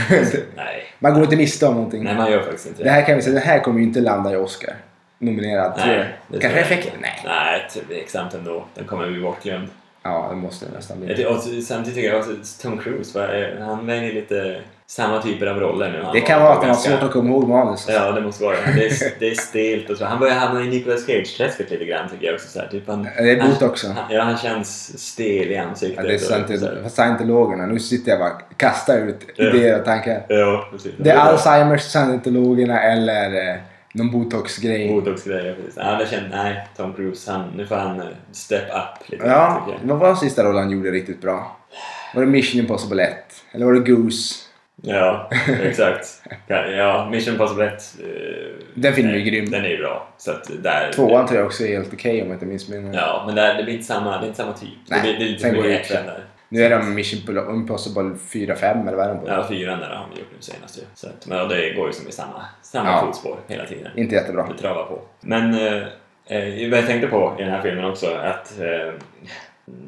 B: nej.
A: Man går inte miste om någonting.
B: Nej, man gör faktiskt inte
A: Det här kan vi säga, det här kommer ju inte landa i Oscar. Nominerad. tror jag.
B: Nej, det
A: Kanske
B: tror jag
A: effekten?
B: inte.
A: Nej.
B: Nej, tveksamt ändå. Den kommer bli bortglömd.
A: Ja, det måste det nästan
B: Jag
A: bli.
B: ty- Och samtidigt tycker jag att Tom Cruise, va, eh, han väljer lite samma typer av roller nu. Han
A: Det kan
B: var-
A: vara att det var
B: ganska-
A: svårt att komma ihåg manus.
B: Ja, det måste vara det. Det är, det är stelt och så. Han börjar hamna i Nicolas Cage-träsket lite grann tycker jag också. Så här. Typ han,
A: Det är botoxen.
B: Han, ja, han känns stel i ansiktet.
A: Ja, det är
B: och så här.
A: scienti- scientologerna. Nu sitter jag bara och kastar ut
B: Ja.
A: idéer och tankar.
B: Ja, precis.
A: Det är Alzheimers, scientologerna eller eh, någon botox-grej.
B: Botox-grejer, precis. Ja, det känns, nej, Tom Cruise, han, nu får han eh, step up lite
A: Ja,
B: tycker jag.
A: vad var den sista rollen han gjorde riktigt bra? Var det Mission Impossible 1? Eller var det Goose?
B: Ja, exakt. Ja, Mission Impossible 1. eh,
A: Den filmen är
B: nej,
A: grym.
B: Den är ju bra. Så att där,
A: Tvåan tror jag också är helt okej om jag inte missminner mig.
B: Ja, men där, det blir inte samma, det är inte samma typ.
A: Nej,
B: det, blir, det är lite
A: sen
B: för
A: går det
B: mycket action där.
A: Nu är de Mission Impossible 4-5 eller vad är de på?
B: Ja, fyran där har vi gjort nu senast ju. Så att, men ja, det går ju som i samma, samma
A: Ja.
B: fotspår hela tiden.
A: Inte jättebra.
B: Det travar på. Men eh, eh, vad jag tänkte på i den här filmen också att eh,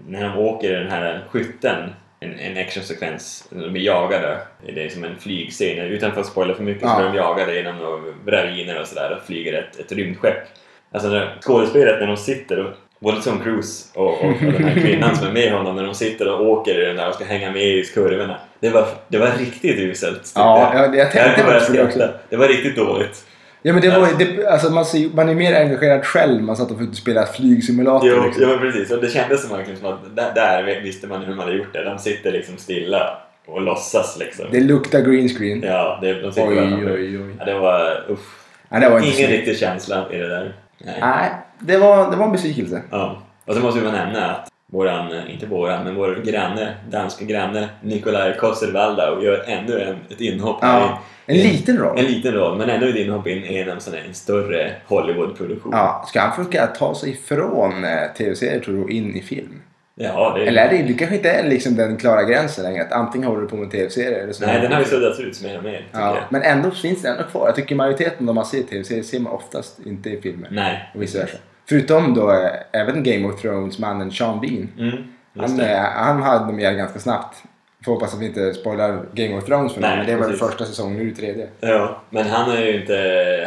B: när de åker i den här skytten en, en actionsekvens, de blir jagade. Det är som en flygscen. Utan att spoila för mycket så
A: Ja.
B: blir de jagade genom några raviner och sådär och flyger ett, ett rymdskepp. Alltså när, skådespelet när de sitter och Både Tom Cruise och, och, och den här kvinnan som är med honom när de sitter och åker i den där och ska hänga med i kurvorna. Det var, det var riktigt uselt. tyckte
A: Ja, jag, jag
B: jag
A: tänkte
B: kan börja
A: faktiskt på det också.
B: skratta. Det var riktigt dåligt.
A: Ja, men det var, ju- det, alltså man, ser, ju- man är mer engagerad själv man satt och försökte spela flygsimulator.
B: Jo,
A: liksom.
B: ja, men precis. Och det kändes som, verkligen som att där, där visste man hur man hade gjort det. De sitter liksom stilla och låtsas liksom.
A: Det luktar green screen.
B: Ja, det, de sitter
A: oj,
B: där.
A: oj, oj.
B: Ja, det var... Uff.
A: Ja, det var inte
B: Ingen
A: snyggt.
B: riktig känsla i det där. Nej.
A: Nej, det var, det var en besvikelse.
B: Ja. Och så måste vi bara nämna att våran, inte våran, men vår granne, danske granne Nikolaj Kosselvalla gör ännu en, ett inhopp. här
A: Ja, en
B: i-
A: liten roll.
B: En liten roll, men ändå ett inhopp in i en, sån här, en större Hollywoodproduktion.
A: Ja, ska han försöka ta sig från eh, tv-serier tror du och in i film?
B: Ja, det är
A: Eller är det, det kanske inte är liksom den klara gränsen längre. Att antingen håller du på med tv-serier eller så...
B: Nej, den har ju suddats ut mer och mer. tycker
A: ja,
B: jag.
A: Men ändå finns den ändå kvar. Jag tycker majoriteten av man ser tv-serier ser man oftast inte i filmer.
B: Nej.
A: Och vice versa. Förutom då eh, även Game of Thrones-mannen Sean Bean.
B: Mm, just
A: Han,
B: det.
A: eh, han hade med ganska snabbt. Får hoppas att vi inte spoilar Game of Thrones för någon,
B: Nej,
A: men det var väl
B: precis.
A: första säsongen, nu är det tredje.
B: Ja, men han är ju inte,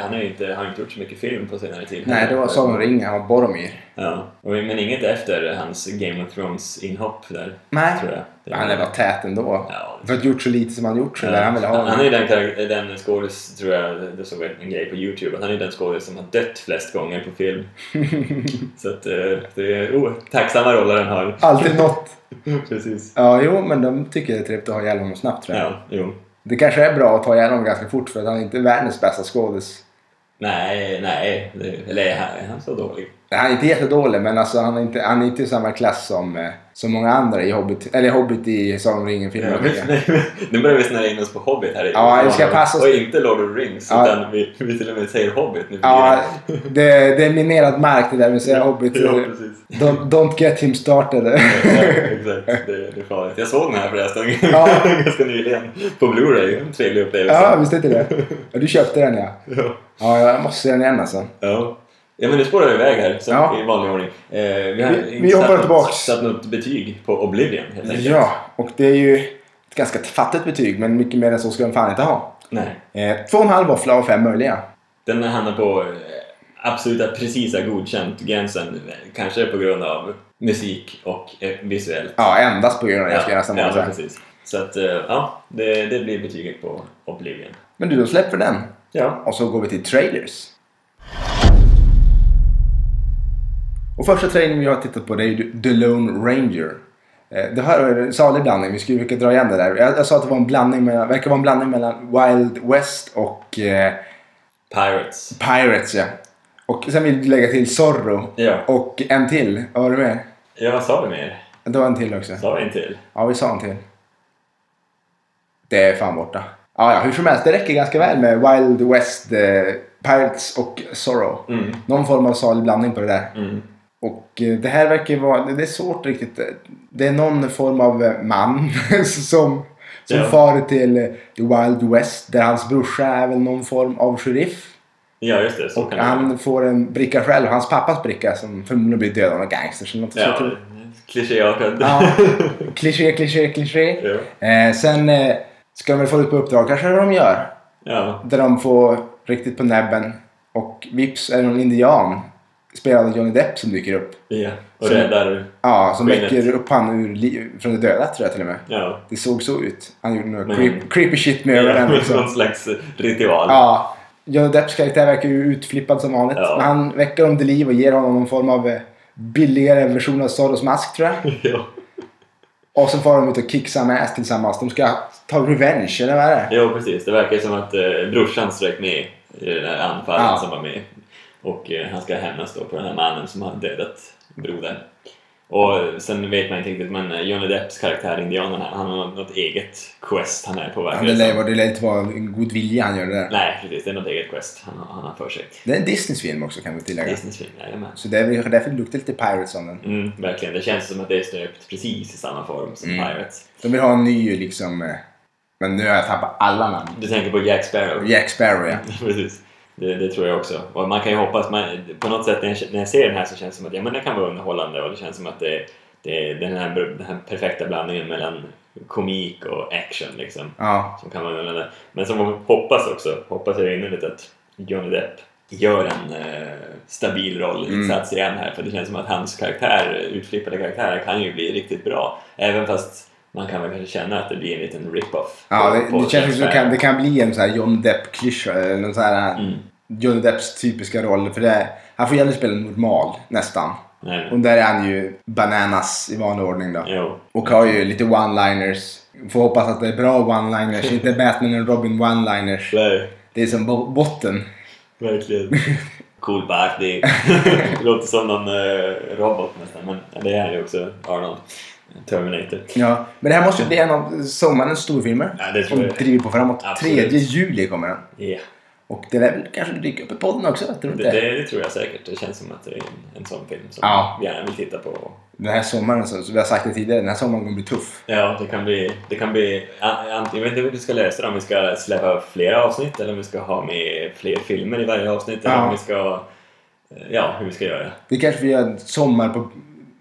B: han är ju inte, har inte gjort så mycket film på senare tid.
A: Nej, det var Sagan om ringen, han var Boromir.
B: Ja, och- men inget efter hans Game of Thrones-inhopp där,
A: Nej.
B: tror jag. Det
A: Men Han är bara tät ändå.
B: Ja.
A: För att gjort så lite som han gjort så där han ville ha.
B: han är ju den, karaktär- den skådis, tror jag, det såg jag en grej på Youtube, att han är den skådis som har dött flest gånger på film. så att eh, det är oh, tacksamma roller han har.
A: Alltid något.
B: Precis.
A: Ja, jo, men de tycker det är trevligt att ha ihjäl honom snabbt tror jag.
B: Ja, jo.
A: Det kanske är bra att ha ihjäl honom ganska fort för att han är inte världens bästa skådis.
B: Nej, nej, det, eller är han, är han så dålig?
A: Han är inte jättedålig, men alltså, han är inte, han är inte i samma klass som, eh, som många andra i Hobbit, eller Hobbit i Sagan om ringen-filmen. tycker jag.
B: nu börjar vi snöra in oss på Hobbit här i
A: Ja, vi ska passa oss.
B: Och inte Lord of the Rings,
A: Ja.
B: utan vi, vi till och med säger Hobbit nu för
A: Ja,
B: tiden.
A: det, det är minerad mark det där med säga Hobbit.
B: Ja, precis.
A: Don't, don't get him started.
B: Ja, exakt, det, det är farligt. Jag såg den här förresten
A: Ja.
B: ganska nyligen på Blu-ray. En trevlig upplevelse.
A: ja, visst är det det? Ja, du köpte den ja.
B: Ja.
A: Ja, jag måste se den igen alltså.
B: Ja. Ja, men nu spårar vi iväg här som
A: Ja.
B: i vanlig ordning. Eh, vi har
A: Vi-
B: inte
A: vi hoppar
B: satt något-
A: tillbaks.
B: satt något betyg på Oblivion helt enkelt.
A: Ja, och det är ju ett ganska fattigt betyg men mycket mer än så ska den fan inte ha.
B: Nej.
A: Eh, två och en halv våffla av fem möjliga.
B: Den hamnar på eh, absoluta precisa godkänt-gränsen. Kanske på grund av musik och eh, visuellt.
A: Ja, endast på grund av det. Jag ska nästan bara
B: ja,
A: säga.
B: precis. Så att, eh, ja, det, det blir betyget på Oblivion.
A: Men du, då släpper den.
B: Ja.
A: Och så går vi till trailers. Och första trailern vi har tittat på det är ju The Lone Ranger. Eh, Det här är en salig blandning, vi skulle vilja dra igen det där. Jag, jag sa att det var en blandning mellan, verkar vara en blandning mellan Wild West och eh,
B: Pirates.
A: Pirates ja. Och sen vill du lägga till Zorro.
B: Ja.
A: Och en till, vad var du med?
B: Ja, vad sa vi mer?
A: Det var en till också.
B: Sa vi en till?
A: Ja, vi sa en till. Det är fan borta. Ja, ja, hur som helst, det räcker ganska väl med Wild West, eh, Pirates och Sorrow.
B: Mm.
A: Någon form av salig blandning på det där.
B: Mm.
A: Och eh, det här verkar ju vara, det är svårt riktigt. Det är någon form av eh, man som, som
B: Ja.
A: far till eh, The Wild West där hans brorsa är väl någon form av sheriff.
B: Ja, just det. Så
A: Och
B: kan det vara.
A: han får en bricka själv, hans pappas bricka som förmodligen blir dödad av en gangster. Så något
B: Ja,
A: så tror-
B: klichéartad.
A: ja. Kliché, kliché, kliché.
B: ja.
A: Eh, sen eh, ska de väl få ut på uppdrag, kanske det de gör.
B: ja.
A: Där de får riktigt på näbben. Och vips är det någon indian, spelad av Johnny Depp, som dyker upp.
B: Ja. Och
A: Så-
B: räddar...
A: Ja, som
B: Skinnet.
A: väcker upp han ur li- från de döda tror jag till och med.
B: Ja.
A: Det såg så ut. Han gjorde några
B: Men-
A: creep, creepy shit med
B: Ja,
A: ögonen
B: med
A: liksom.
B: någon slags ritual.
A: Ja. Johnny Depps karaktär verkar ju utflippad som vanligt.
B: Ja.
A: Men han väcker honom till liv och ger honom någon form av eh, billigare version av Soros mask tror jag.
B: Ja.
A: Och så får de ut och kicksar med ass tillsammans. De ska ta revenge, eller vad är det?
B: Ja, precis. Det verkar som att eh, brorsan strök med i det där anfallet
A: Ja.
B: som var med. Och eh, han ska hämnas då på den här mannen som har dödat brodern. Och eh, sen vet man inte riktigt, men eh, Johnny Depps karaktär, indianen, här, han har något eget quest han är på väg
A: Ja, det lär det lär inte vara en god vilja han gör det där.
B: Nej, precis. Det är något eget quest han, har- han har för sig.
A: Det är en Disneys film också kan vi tillägga.
B: Disneys film, jajamän.
A: Så det är väl därför det luktar lite Pirates om den.
B: Mm, verkligen. Det känns som att det är stöpt precis i samma form som
A: Mm.
B: Pirates.
A: De vill ha en ny liksom... eh, Men nu har jag tappat alla namn.
B: Du tänker på Jack Sparrow?
A: Jack Sparrow ja.
B: Precis. Det, det tror jag också. Och man kan ju hoppas, man, på något sätt när jag, när jag ser den här så känns det som att ja, men den kan vara underhållande och det känns som att det, det är den här, den här perfekta blandningen mellan komik och action liksom.
A: Ja,
B: Som kan vara underhållande. Men som man hoppas också, hoppas jag innerligt att Johnny Depp gör en eh, stabil
A: Mm.
B: rollinsats igen här för det känns som att hans karaktär, utflippade karaktärer kan ju bli riktigt bra. Även fast man kan väl kanske känna att det blir en liten rip-off.
A: ja
B: på-
A: det,
B: på
A: det känns som det kan,
B: Jack Sparrow.
A: det kan bli en sån här John Depp-klyscha. eller någon sån här
B: Mm.
A: Johnny Depps typiska roll. För det, han får gärna spela normal, nästan.
B: Nej, men,
A: Och där är han ju bananas i vanlig ordning då.
B: jo.
A: Och har ju lite one-liners. Får hoppas att det är bra one-liners, inte Batman och Robin one-liners.
B: Nej.
A: Det är som bo- botten.
B: Verkligen. Cool party. Låter som någon eh, robot nästan, men det är ju också Arnold. Terminator.
A: Ja. Men det här måste ju bli en av sommarens storfilmer.
B: Ja, det tror
A: Som
B: jag.
A: driver på framåt.
B: Absolut.
A: 3 juli kommer den.
B: Ja,
A: Och det lär väl kanske dyka upp i podden också, tror du
B: det,
A: inte?
B: det, det tror jag säkert. Det känns som att det är en, en sån film som
A: Ja.
B: jag gärna vill titta på.
A: Den här sommaren, alltså, som som vi har sagt det tidigare, den här sommaren kommer bli tuff.
B: Ja, det kan bli... Det kan bli an- an- jag vet inte hur vi ska lösa det, om vi ska släppa flera avsnitt eller om vi ska ha med fler filmer i varje avsnitt eller
A: Ja.
B: om vi ska... eh, Ja, hur vi ska göra.
A: Vi kanske vill göra en sommar, på,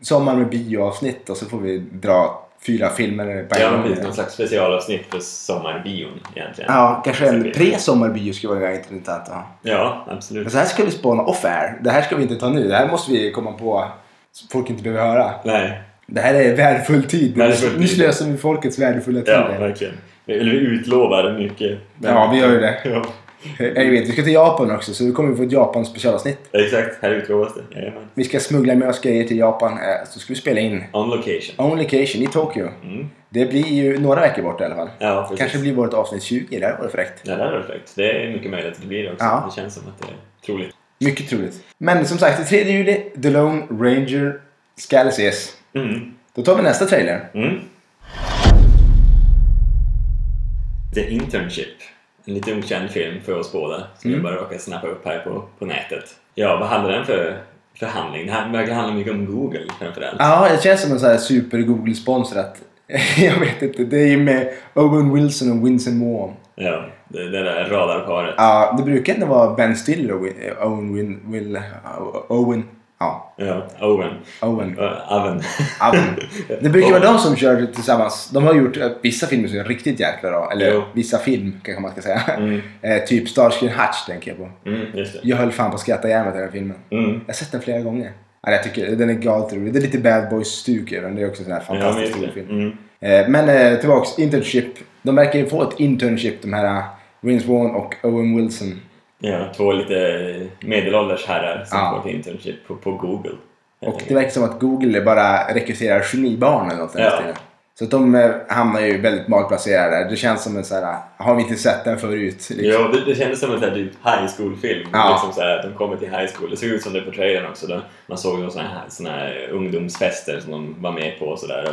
A: sommar med bioavsnitt och så får vi dra fyra filmer på en
B: Ja, men
A: gång.
B: precis. Någon slags specialavsnitt för sommarbion egentligen.
A: Ja, kanske en
B: Precis.
A: pre-sommarbio skulle vara intressant att ha.
B: Ja, absolut.
A: Men så här ska vi spåna off-air. Det här ska vi inte ta nu. Det här måste vi komma på så folk inte behöver höra.
B: Nej,
A: Det här är värdefull tid.
B: Värdefull tid.
A: Nu slösar vi folkets värdefulla tid.
B: Ja,
A: Ja,
B: verkligen. Eller vi utlovar mycket.
A: vi gör ju det.
B: Ja,
A: Jag vet, vi ska till Japan också så vi kommer få ett Japan specialavsnitt.
B: exakt. Här utlovas det. Jajamän.
A: Vi ska smuggla med oss grejer till Japan eh, så ska vi spela in
B: On location.
A: On Location i Tokyo.
B: Mm.
A: Det blir ju några veckor bort i alla fall.
B: Ja, precis.
A: Kanske blir vårt avsnitt 20, det här vore fräckt.
B: Ja, det är perfekt. Det är mycket möjligt att det blir det också.
A: Ja.
B: Det känns som att det är troligt.
A: Mycket troligt. Men som sagt, den 3 juli, The Lone Ranger ska ses.
B: Mm.
A: Då tar vi nästa trailer.
B: Mm. The Internship. En lite okänd film för oss båda som
A: Mm.
B: jag bara råkade snappa upp här på, på nätet. Ja, vad handlar den för förhandling? Det här verkar handla mycket om Google framförallt.
A: Ja, det känns som en sån här super Google-sponsrat. Jag vet inte, det är ju med Owen Wilson och Vincent Moore.
B: Ja, det, det där radarparet.
A: Ja, det brukar ändå vara Ben Stiller och Win- Owen... Win, Will, Owen... Ja,
B: Ja, Owen.
A: Owen.
B: Uh, oven.
A: Owen. Det brukar vara
B: Owen.
A: de som kör tillsammans. De har gjort eh, vissa filmer som är riktigt jäkla bra. Eller
B: Jo.
A: vissa film kanske man ska säga.
B: Mm.
A: Eh, typ Starsky and Hutch tänker jag på.
B: Mm, just det.
A: Jag höll fan på att skratta ihjäl mig till den här filmen.
B: Mm.
A: Jag har sett den flera gånger. Ja, jag tycker den är galet rolig. Det är lite Bad Boys-stuk över den. Det är också en sån här
B: Ja, men
A: fantastisk
B: just
A: rolig
B: det.
A: film.
B: Mm.
A: Eh, Men eh, tillbaks, internship. De verkar ju få ett internship de här eh, Vince Vaughn och Owen Wilson.
B: Ja, två lite medelålders herrar som
A: Ja.
B: går till internship på, på Google. Eh, helt
A: Och det
B: enkelt.
A: verkar som att Google bara rekryterar genibarn eller något i den
B: Ja.
A: stilen. Så att de eh, hamnar ju väldigt malplacerade där. Det känns som en så här, eh, har vi inte sett den förut? Liksom.
B: Ja, det, det kändes som en sån här typ high school-film.
A: Ja.
B: Liksom så här, de kommer till high school. Det såg ut som det på trailern också. Då. Man såg några såna här, såna här ungdomsfester som de var med på och sådär.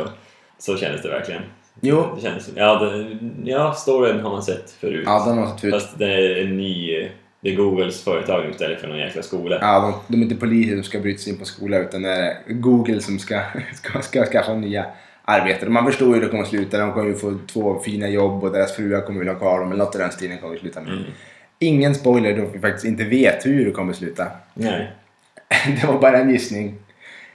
B: Så kändes det verkligen.
A: Jo.
B: Det känns, ja, det, ja, storyn har man sett förut.
A: Ja, de har sett ut.
B: Fast det är en ny... Det är Googles företag istället för någon jäkla skola.
A: Ja, de, de är inte poliser som ska bryta sig in på skola utan det är Google som ska, ska, ska skaffa nya arbeten. Man förstår ju hur det kommer att sluta. De kommer ju få två fina jobb och deras fruar kommer vilja ha kvar dem. Eller något i den stilen kommer det sluta med. Ingen spoiler då vi faktiskt inte vet hur det kommer att sluta.
B: Nej.
A: Det var bara en gissning.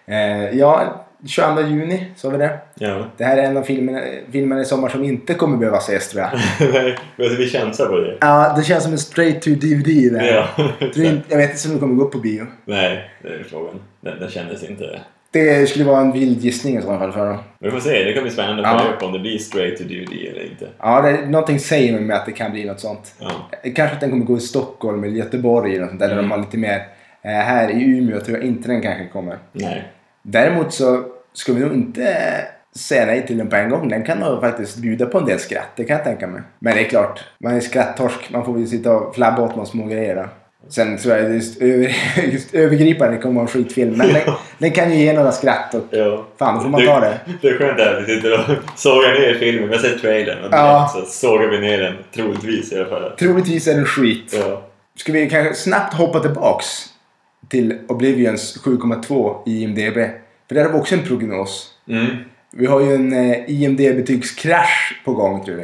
A: Eh, ja, 22 juni sa vi det.
B: Ja.
A: Det här är en av filmerna, filmerna i sommar som inte kommer behöva ses tror jag.
B: Nej, men vi chansar på det.
A: Ja, det känns som en straight to DVD där.
B: Ja.
A: Jag tror inte- Jag vet inte om det kommer gå upp på bio.
B: Nej, det är frågan. Den, den kändes inte...
A: Det skulle vara en vild gissning i så fall för dem.
B: Men vi får se, det kan bli spännande att
A: Ja.
B: följa upp om det blir straight to DVD eller inte.
A: Ja, det, någonting säger mig med att det kan bli något sånt.
B: Ja.
A: Kanske att den kommer gå i Stockholm eller Göteborg eller något sånt där, där de har lite mer. Eh, här i Umeå tror jag inte den kanske kommer.
B: Nej.
A: Däremot så ska vi nog inte säga nej till den på en gång. Den kan nog faktiskt bjuda på en del skratt, det kan jag tänka mig. Men det är klart, man är skratttorsk. Man får väl sitta och flabba åt några små grejer då. Sen tror jag just, över, just övergripande kommer vara en skitfilm. Men den, den kan ju ge några skratt och
B: Ja.
A: fan, då får man ta det.
B: Det är skönt att vi sitter och sågar ner filmen. Vi har sett trailern och direkt
A: Ja.
B: så sågar vi ner den. Troligtvis i alla fall.
A: Troligtvis är den skit.
B: Ja.
A: Ska vi kanske snabbt hoppa tillbaks till Oblivions 7,2 i IMDB? För där har vi också en prognos.
B: Mm.
A: Vi har ju en eh, IMDB-betygskrasch på gång tror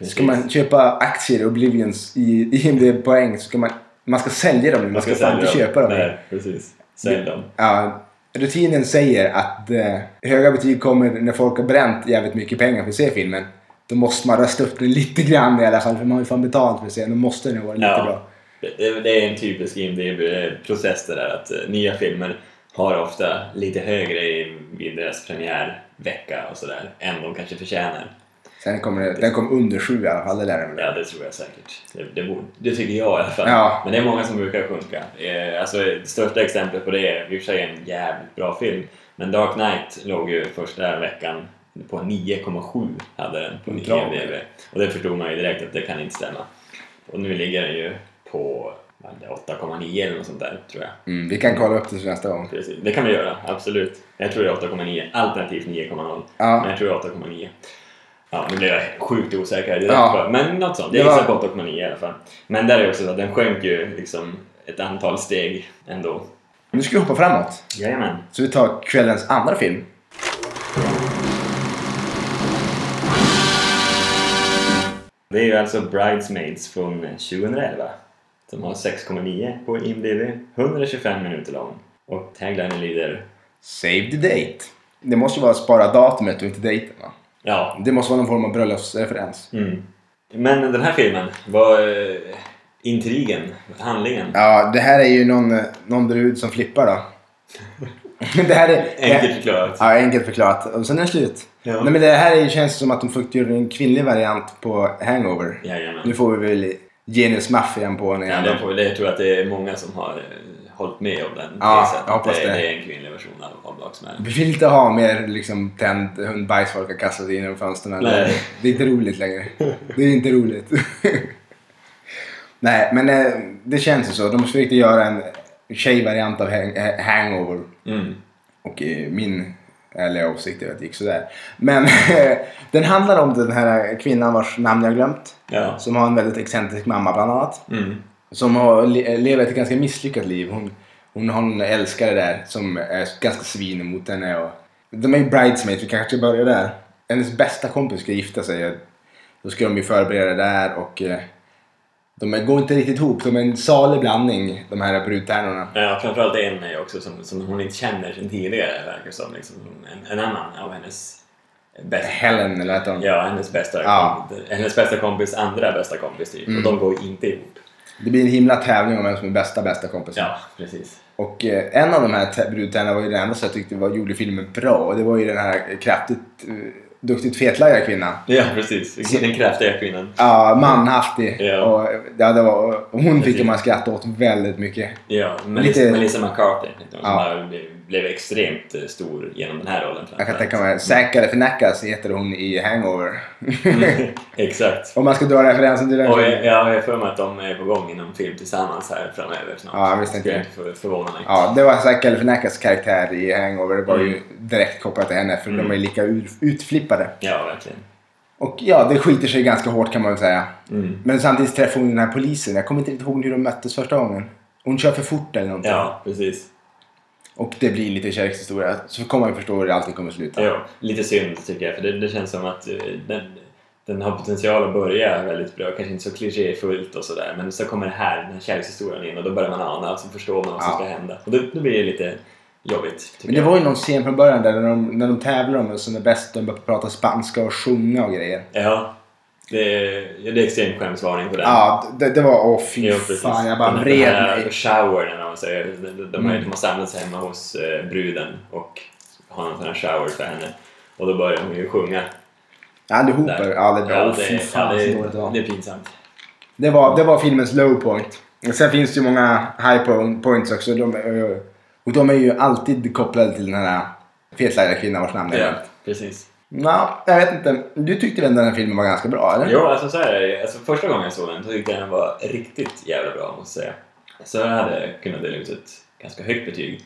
A: vi. Ska man köpa aktier i Oblivions i IMDB-poäng så ska man, man ska sälja dem nu. Man ska, fan inte
B: sälja
A: köpa dem.
B: Nej, precis. Sälj dem.
A: Ja, rutinen säger att eh, höga betyg kommer när folk har bränt jävligt mycket pengar för att se filmen. Då måste man rösta upp den lite grann i alla fall för man har ju fan betalt för att se den. Då måste den ju vara lite
B: Ja.
A: bra.
B: Det, det är en typisk IMDB-process det där att eh, nya filmer har ofta lite högre i, i deras premiärvecka och sådär än de kanske förtjänar.
A: Sen kommer det, den kom under sju i alla fall, det där är väl.
B: Ja, det tror jag säkert. Det, det, borde, det tycker jag i alla fall.
A: Ja.
B: Men det är många som brukar sjunka. Eh, alltså, det största exemplet på det är i och för sig en jävligt bra film. Men Dark Knight låg ju första veckan på 9,7 hade den på
A: Bra.
B: IMDB. Och det förstod man ju direkt att det kan inte stämma. Och nu ligger den ju på vad är det, 8,9 eller något sånt där tror jag.
A: Mm, vi kan kolla upp det till nästa gång.
B: Precis. Det kan vi göra, absolut. Jag tror det är 8,9 alternativt 9,0. Men
A: Ja,
B: jag tror det är 8,9. Ja, nu blev jag sjukt osäker direkt.
A: Ja.
B: bara. Men något sånt. Jag
A: Det var-
B: gissar på 8,9 i alla fall. Men där är det också så att den sjönk ju liksom ett antal steg ändå.
A: nu ska vi hoppa framåt.
B: Jajamän.
A: Så vi tar kvällens andra film.
B: Det är ju alltså Bridesmaids från 2011. Som har 6,9 på IMDB. 125 minuter lång. Och taglinen lyder
A: Save the date. Det måste ju vara spara datumet och inte dejten va?
B: Ja.
A: Det måste vara någon form av bröllopsreferens.
B: Mm. Men den här filmen, var eh, intrigen, handlingen.
A: Ja, det här är ju någon, eh, någon brud som flippar då. det här är...
B: Enkelt förklarat.
A: Ja, enkelt förklarat. Och sen är det slut.
B: Ja.
A: Nej men det här är ju- känns som att de försökte göra en kvinnlig variant på Hangover.
B: Jajamän.
A: Nu får vi väl genusmaffian på henne
B: Ja,
A: igen.
B: den får, det tror jag att det är många som har eh, hållit med om den
A: Ja,
B: tesen.
A: jag hoppas
B: det,
A: det.
B: det är en kvinnlig version av, av Blacksman.
A: Vi vill inte ha mer liksom, tänd hundbajs folk har kastat in genom fönstren.
B: Nej.
A: Det är inte roligt längre. Det är inte roligt. Nej, men eh, det känns ju så. De försökte göra en tjejvariant av hang- eh, hangover.
B: Mm.
A: Och eh, min ärliga åsikt är att det gick sådär. Men eh, den handlar om den här kvinnan vars namn jag glömt.
B: Ja.
A: Som har en väldigt excentrisk mamma bland annat.
B: Mm.
A: Som har, le- lever ett ganska misslyckat liv. Hon, hon har en älskare där som är ganska svin mot henne. Och, de är ju bridesmaids, vi kanske ska börja där. Hennes bästa kompis ska gifta sig. och Då ska de ju förbereda det där och eh, de är- går inte riktigt ihop. De är en salig blandning, de här brudtärnorna.
B: Ja, framförallt en är också som, som hon inte känner sen tidigare verkar som. Liksom, en, en annan av hennes bästa,
A: Helen, eller vad heter hon?
B: ja, hennes bästa,
A: Ja. Mm.
B: kompis, hennes bästa kompis andra bästa kompis typ. Och de går ju inte ihop.
A: Det blir en himla tävling om vem som är bästa, bästa kompis.
B: Ja, precis.
A: Och eh, en av de här tä- brudtärnorna var ju den enda som jag tyckte var, gjorde filmen bra. Och det var ju den här kraftigt, eh, duktigt fetlagda kvinnan.
B: Ja, precis. Den kraftiga kvinnan.
A: Ja, manhaftig.
B: Ja.
A: Och, ja, det var, och hon tycker man skrattar åt väldigt mycket.
B: Ja, Melissa,
A: Lite-
B: Melissa McCarthy. liksom, Som
A: Ja.
B: har blivit- blev extremt eh, stor genom den här rollen.
A: Jag kan
B: framförallt.
A: tänka mig, Säkare Förnäkas heter hon i Hangover.
B: Exakt.
A: Om man ska dra referensen till den
B: Och
A: filmen.
B: jag, jag har för mig att de är på gång i någon film tillsammans här framöver snart.
A: Ja, visst inte.
B: Skulle inte för, förvåna mig.
A: Ja, det var Säkare Förnäkas karaktär i Hangover. Det var ju direkt kopplat till henne för de är lika ur- utflippade.
B: Ja, verkligen.
A: Och ja, det skiter sig ganska hårt kan man väl säga.
B: Mm.
A: Men samtidigt träffar hon den här polisen. Jag kommer inte riktigt ihåg hur de möttes första gången. Hon kör för fort eller någonting.
B: Ja, precis.
A: Och det blir lite kärlekshistoria. Så kommer man ju förstå hur allting kommer att sluta.
B: Ja, lite synd tycker jag, för det, det känns som att eh, den, den har potential att börja väldigt bra. Kanske inte så klichéfullt och sådär, men så kommer det här, den här kärlekshistorien in och då börjar man ana och så förstår man vad som
A: Ja.
B: ska hända. Och då, då blir det lite jobbigt, tycker
A: Men det var ju någon scen från början där när de, när de tävlar om vem som är bäst. De börjar prata spanska och sjunga och grejer.
B: jag. Ja, det, ja, det är extrem skämsvarning på den.
A: Ja, det, det var... Åh fy
B: Jo, precis.
A: fan, jag bara
B: Den
A: vred
B: här
A: mig.
B: shower, när de, säger, de, de, de, har-
A: Mm.
B: de har samlats hemma hos eh, bruden och har någon sån här shower för henne. Och då börjar hon ju sjunga.
A: Allihopa.
B: Där.
A: Ja, det var...
B: Ja,
A: åh, fy
B: det, ja,
A: fan,
B: det,
A: så dåligt det var.
B: det är pinsamt.
A: Det var, det var filmens low point. Och Sen finns det ju många high po- points också. De, är- och de är ju alltid kopplade till den här fetlaggade kvinnan vars namn jag
B: Ja,
A: glömt.
B: precis.
A: Ja, jag vet inte. Du tyckte väl den här filmen var ganska bra, eller?
B: Jo, alltså så här, är det. alltså första gången jag såg den så tyckte jag den var riktigt jävla bra måste jag säga. Så jag hade kunnat dela ut ett ganska högt betyg.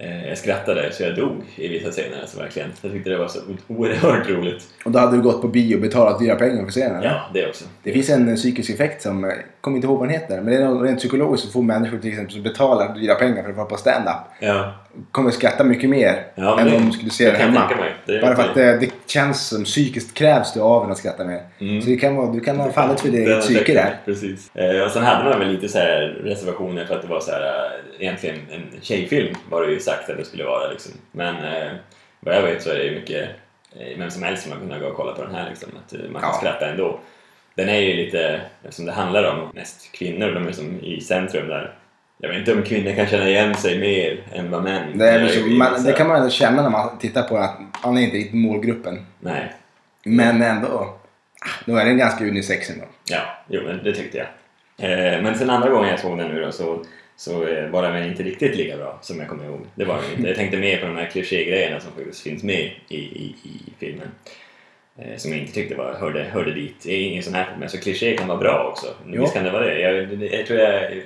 B: Eh, Jag skrattade så jag dog i vissa scener, alltså verkligen. Jag tyckte det var så oerhört roligt.
A: Och då hade du gått på bio och betalat dyra pengar för att se den, eller?
B: Ja, det också.
A: Det finns en eh, psykisk effekt som, eh, kommer inte ihåg vad den heter, men det är någon rent psykologiskt som får människor till exempel som betalar dyra pengar för att vara på stand-up.
B: Ja,
A: Kommer skratta mycket mer
B: Ja, men
A: än
B: det-
A: om de skulle se
B: det
A: den
B: kan jag
A: hemma.
B: tänka mig. Det är
A: Bara för att
B: inte-
A: det, det känns som psykiskt krävs det av en att skratta mer.
B: Mm.
A: Så det kan vara, du kan ha fallit för det i
B: Den
A: ett psyke
B: effekten,
A: där.
B: Precis. Eh, Och sen hade man väl lite så här reservationer för att det var så här, eh, egentligen en tjejfilm var det ju sagt att det skulle vara liksom. Men eh, vad jag vet så är det ju mycket eh, vem som helst som har kunnat gå och kolla på den här liksom. Att eh, man kan
A: Ja.
B: skratta ändå. Den är ju lite, eftersom det handlar om mest kvinnor, de är som i centrum där. Jag vet inte om kvinnor kan känna igen sig mer än vad män
A: Det, är
B: gör
A: liksom,
B: i
A: man,
B: vissa-
A: det kan man ändå känna när man tittar på att han är inte i målgruppen.
B: Nej,
A: Men ändå. ah, Då är den ganska unisex ändå.
B: Ja, jo, men det tyckte jag. Eh, men sen andra gången jag såg den nu då så, så eh, var den väl inte riktigt lika bra som jag kommer ihåg. Det var den inte. Jag tänkte mer på de här klichégrejerna som faktiskt finns med i, i, i filmen. Eh, som jag inte tyckte var, hörde, hörde dit. Det är ingen sån här film, så kliché kan vara bra också.
A: Jo.
B: Visst kan det vara det. Jag, jag tror jag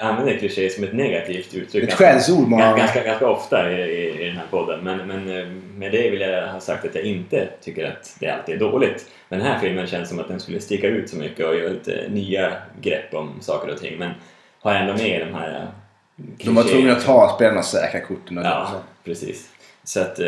B: använder kliché som ett negativt uttryck.
A: Ett skällsord många
B: Ganska,
A: gånger.
B: ganska, ganska ofta i, i, i den här podden. Men, men eh, med det vill jag ha sagt att jag inte tycker att det alltid är dåligt. Men den här filmen känns som att den skulle sticka ut så mycket och göra lite nya grepp om saker och ting. Men har ändå med de här eh,
A: De var
B: klichéerna.
A: tvungna att ta spelarna och säkra korten. Och
B: Ja, precis. Så att, eh,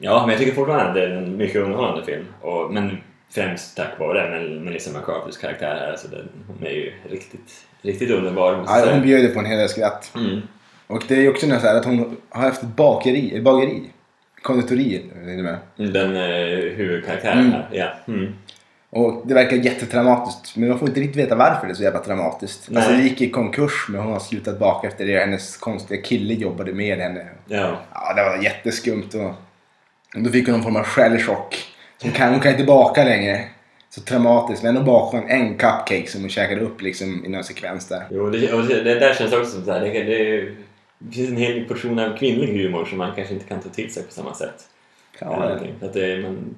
B: ja, men jag tycker fortfarande att det är en mycket underhållande film. Och, men främst tack vare men Melissa McCarthys karaktär här. Alltså den, hon är ju riktigt, riktigt underbar måste jag
A: Ja, hon
B: säga.
A: bjöd på en hel del skratt.
B: Mm.
A: Och det är ju också något så här att hon har haft ett bakeri, ett bageri. Konditori är det med.
B: Den eh, huvudkaraktären
A: Mm.
B: här, ja. Mm.
A: Och det verkar jättetraumatiskt. Men man får inte riktigt veta varför det är så jävla traumatiskt.
B: Nej.
A: Alltså det gick i konkurs men hon har slutat baka efter det. Hennes konstiga kille jobbade med henne.
B: Ja,
A: Ja, det var jätteskumt. Och, och då fick hon någon form av självchock. Så hon, kan, hon kan inte baka längre. Så traumatiskt. Men ändå bakade hon en cupcake som hon käkade upp liksom i någon sekvens där.
B: jo, det, och det det där känns också som så här, det, det, det finns en hel portion av kvinnlig humor som man kanske inte kan ta till sig på samma sätt. Eller
A: Ja,
B: någonting. Att det, man,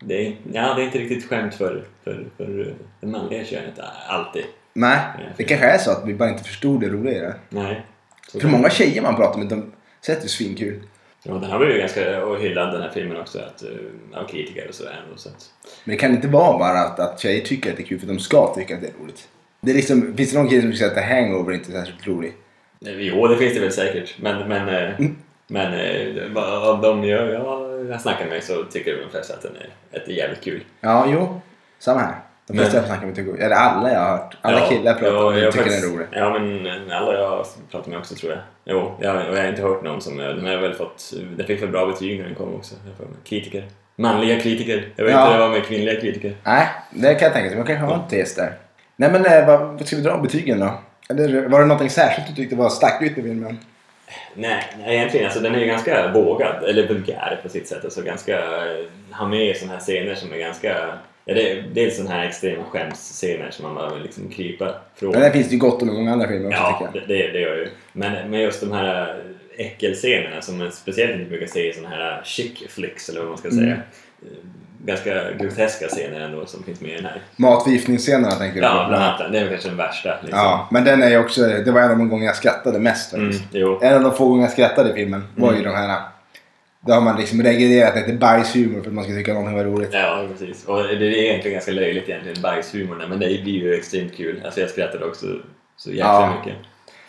B: det, är, ja, det är inte riktigt skämt för, för, för det manliga könet alltid.
A: nej, det kanske är så att vi bara inte förstod det roliga i det.
B: Nej. Så
A: För många tjejer man pratar med, de sätter ju svinkul.
B: Ja, den här blev ju ganska och hyllad den här filmen också att, eh, av kritiker och sådär. ändå, Så att,
A: Men det kan inte vara bara att, att tjejer tycker att det är kul för de ska tycka att det är roligt. Det är liksom, finns det någon kille som säger att The Hangover inte är särskilt rolig?
B: eh, jo, det finns det väl säkert. Men, men, eh,
A: Mm.
B: men eh, vad- av de jag, jag, jag snackar med så tycker de flesta att den är, att det är jävligt kul.
A: Ja, jo. Samma här. De flesta
B: Men-
A: jag snackar med tycker, eller alla jag har hört, alla killar pratar
B: ja,
A: om det
B: jag
A: tycker
B: faktiskt-
A: den är rolig.
B: Ja, men alla jag pratar med också tror jag. Jo, jag, och jag har inte hört någon som... Den har väl fått... Den fick väl bra betyg när den kom också. jag får med. Kritiker. Manliga kritiker. Jag vet
A: Ja.
B: inte hur det var med kvinnliga kritiker.
A: Nej, det kan jag tänka mig. Man kanske har en tes där. Nej men eh, vad, vad ska vi dra om betygen då? Eller var det någonting särskilt du tyckte var stack ut med filmen?
B: Nej, nej, egentligen. Alltså, den är ju ganska vågad, eller vulgär på sitt sätt. Alltså, ganska, eh, har med sådana här scener som är ganska... Ja, det, är- dels sådana här extrema skämsscener som man bara vill liksom krypa från.
A: Men där finns det ju gott om i många andra filmer också
B: Ja,
A: tycker jag.
B: det, det, det gör jag ju. Men, men just de här äckelscenerna som man speciellt inte brukar se i såna här chick flicks eller vad man
A: Mm.
B: ska säga. Eh, Ganska groteska scener ändå som finns med i den här.
A: Matförgiftningsscenerna tänker du
B: Ja,
A: på?
B: bland annat. Det är väl kanske den värsta. Liksom.
A: Ja, men den är ju också, det var en av de gånger jag skrattade mest faktiskt.
B: Mm, jo. Mm.
A: En av de få gånger jag skrattade i filmen var ju de här Då har man liksom reglerat det till bajshumor för att man ska tycka någonting var roligt.
B: Ja, precis. Och det är egentligen ganska löjligt egentligen, bajshumorna, men det blir ju extremt kul. Alltså jag skrattade också så jäkla
A: Ja.
B: mycket.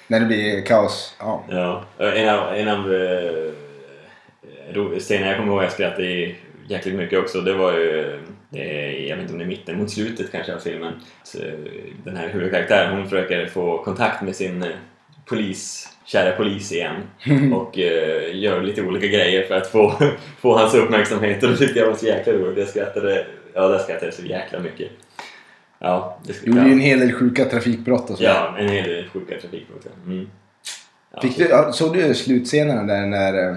A: När det blir kaos. Ja.
B: Ja. En av, en av eh, ro- scener jag kommer ihåg jag skrattade i jäkligt mycket också, det var ju, eh, jag vet inte om det är mitten mot slutet kanske av filmen, så, eh, den här huvudkaraktären, hon försöker få kontakt med sin eh, polis, kära polis igen och eh, gör lite olika grejer för att få, få hans uppmärksamhet och det tyckte jag var så jäkla roligt. Jag skrattade, ja, där skrattade jag så jäkla mycket. Ja, det
A: Det gjorde ju en
B: skrattade
A: hel del sjuka trafikbrott och så.
B: Ja, en hel del sjuka trafikbrott. ja. Mm. Ja.
A: Fick du, ja, såg du slutscenerna där när, eh,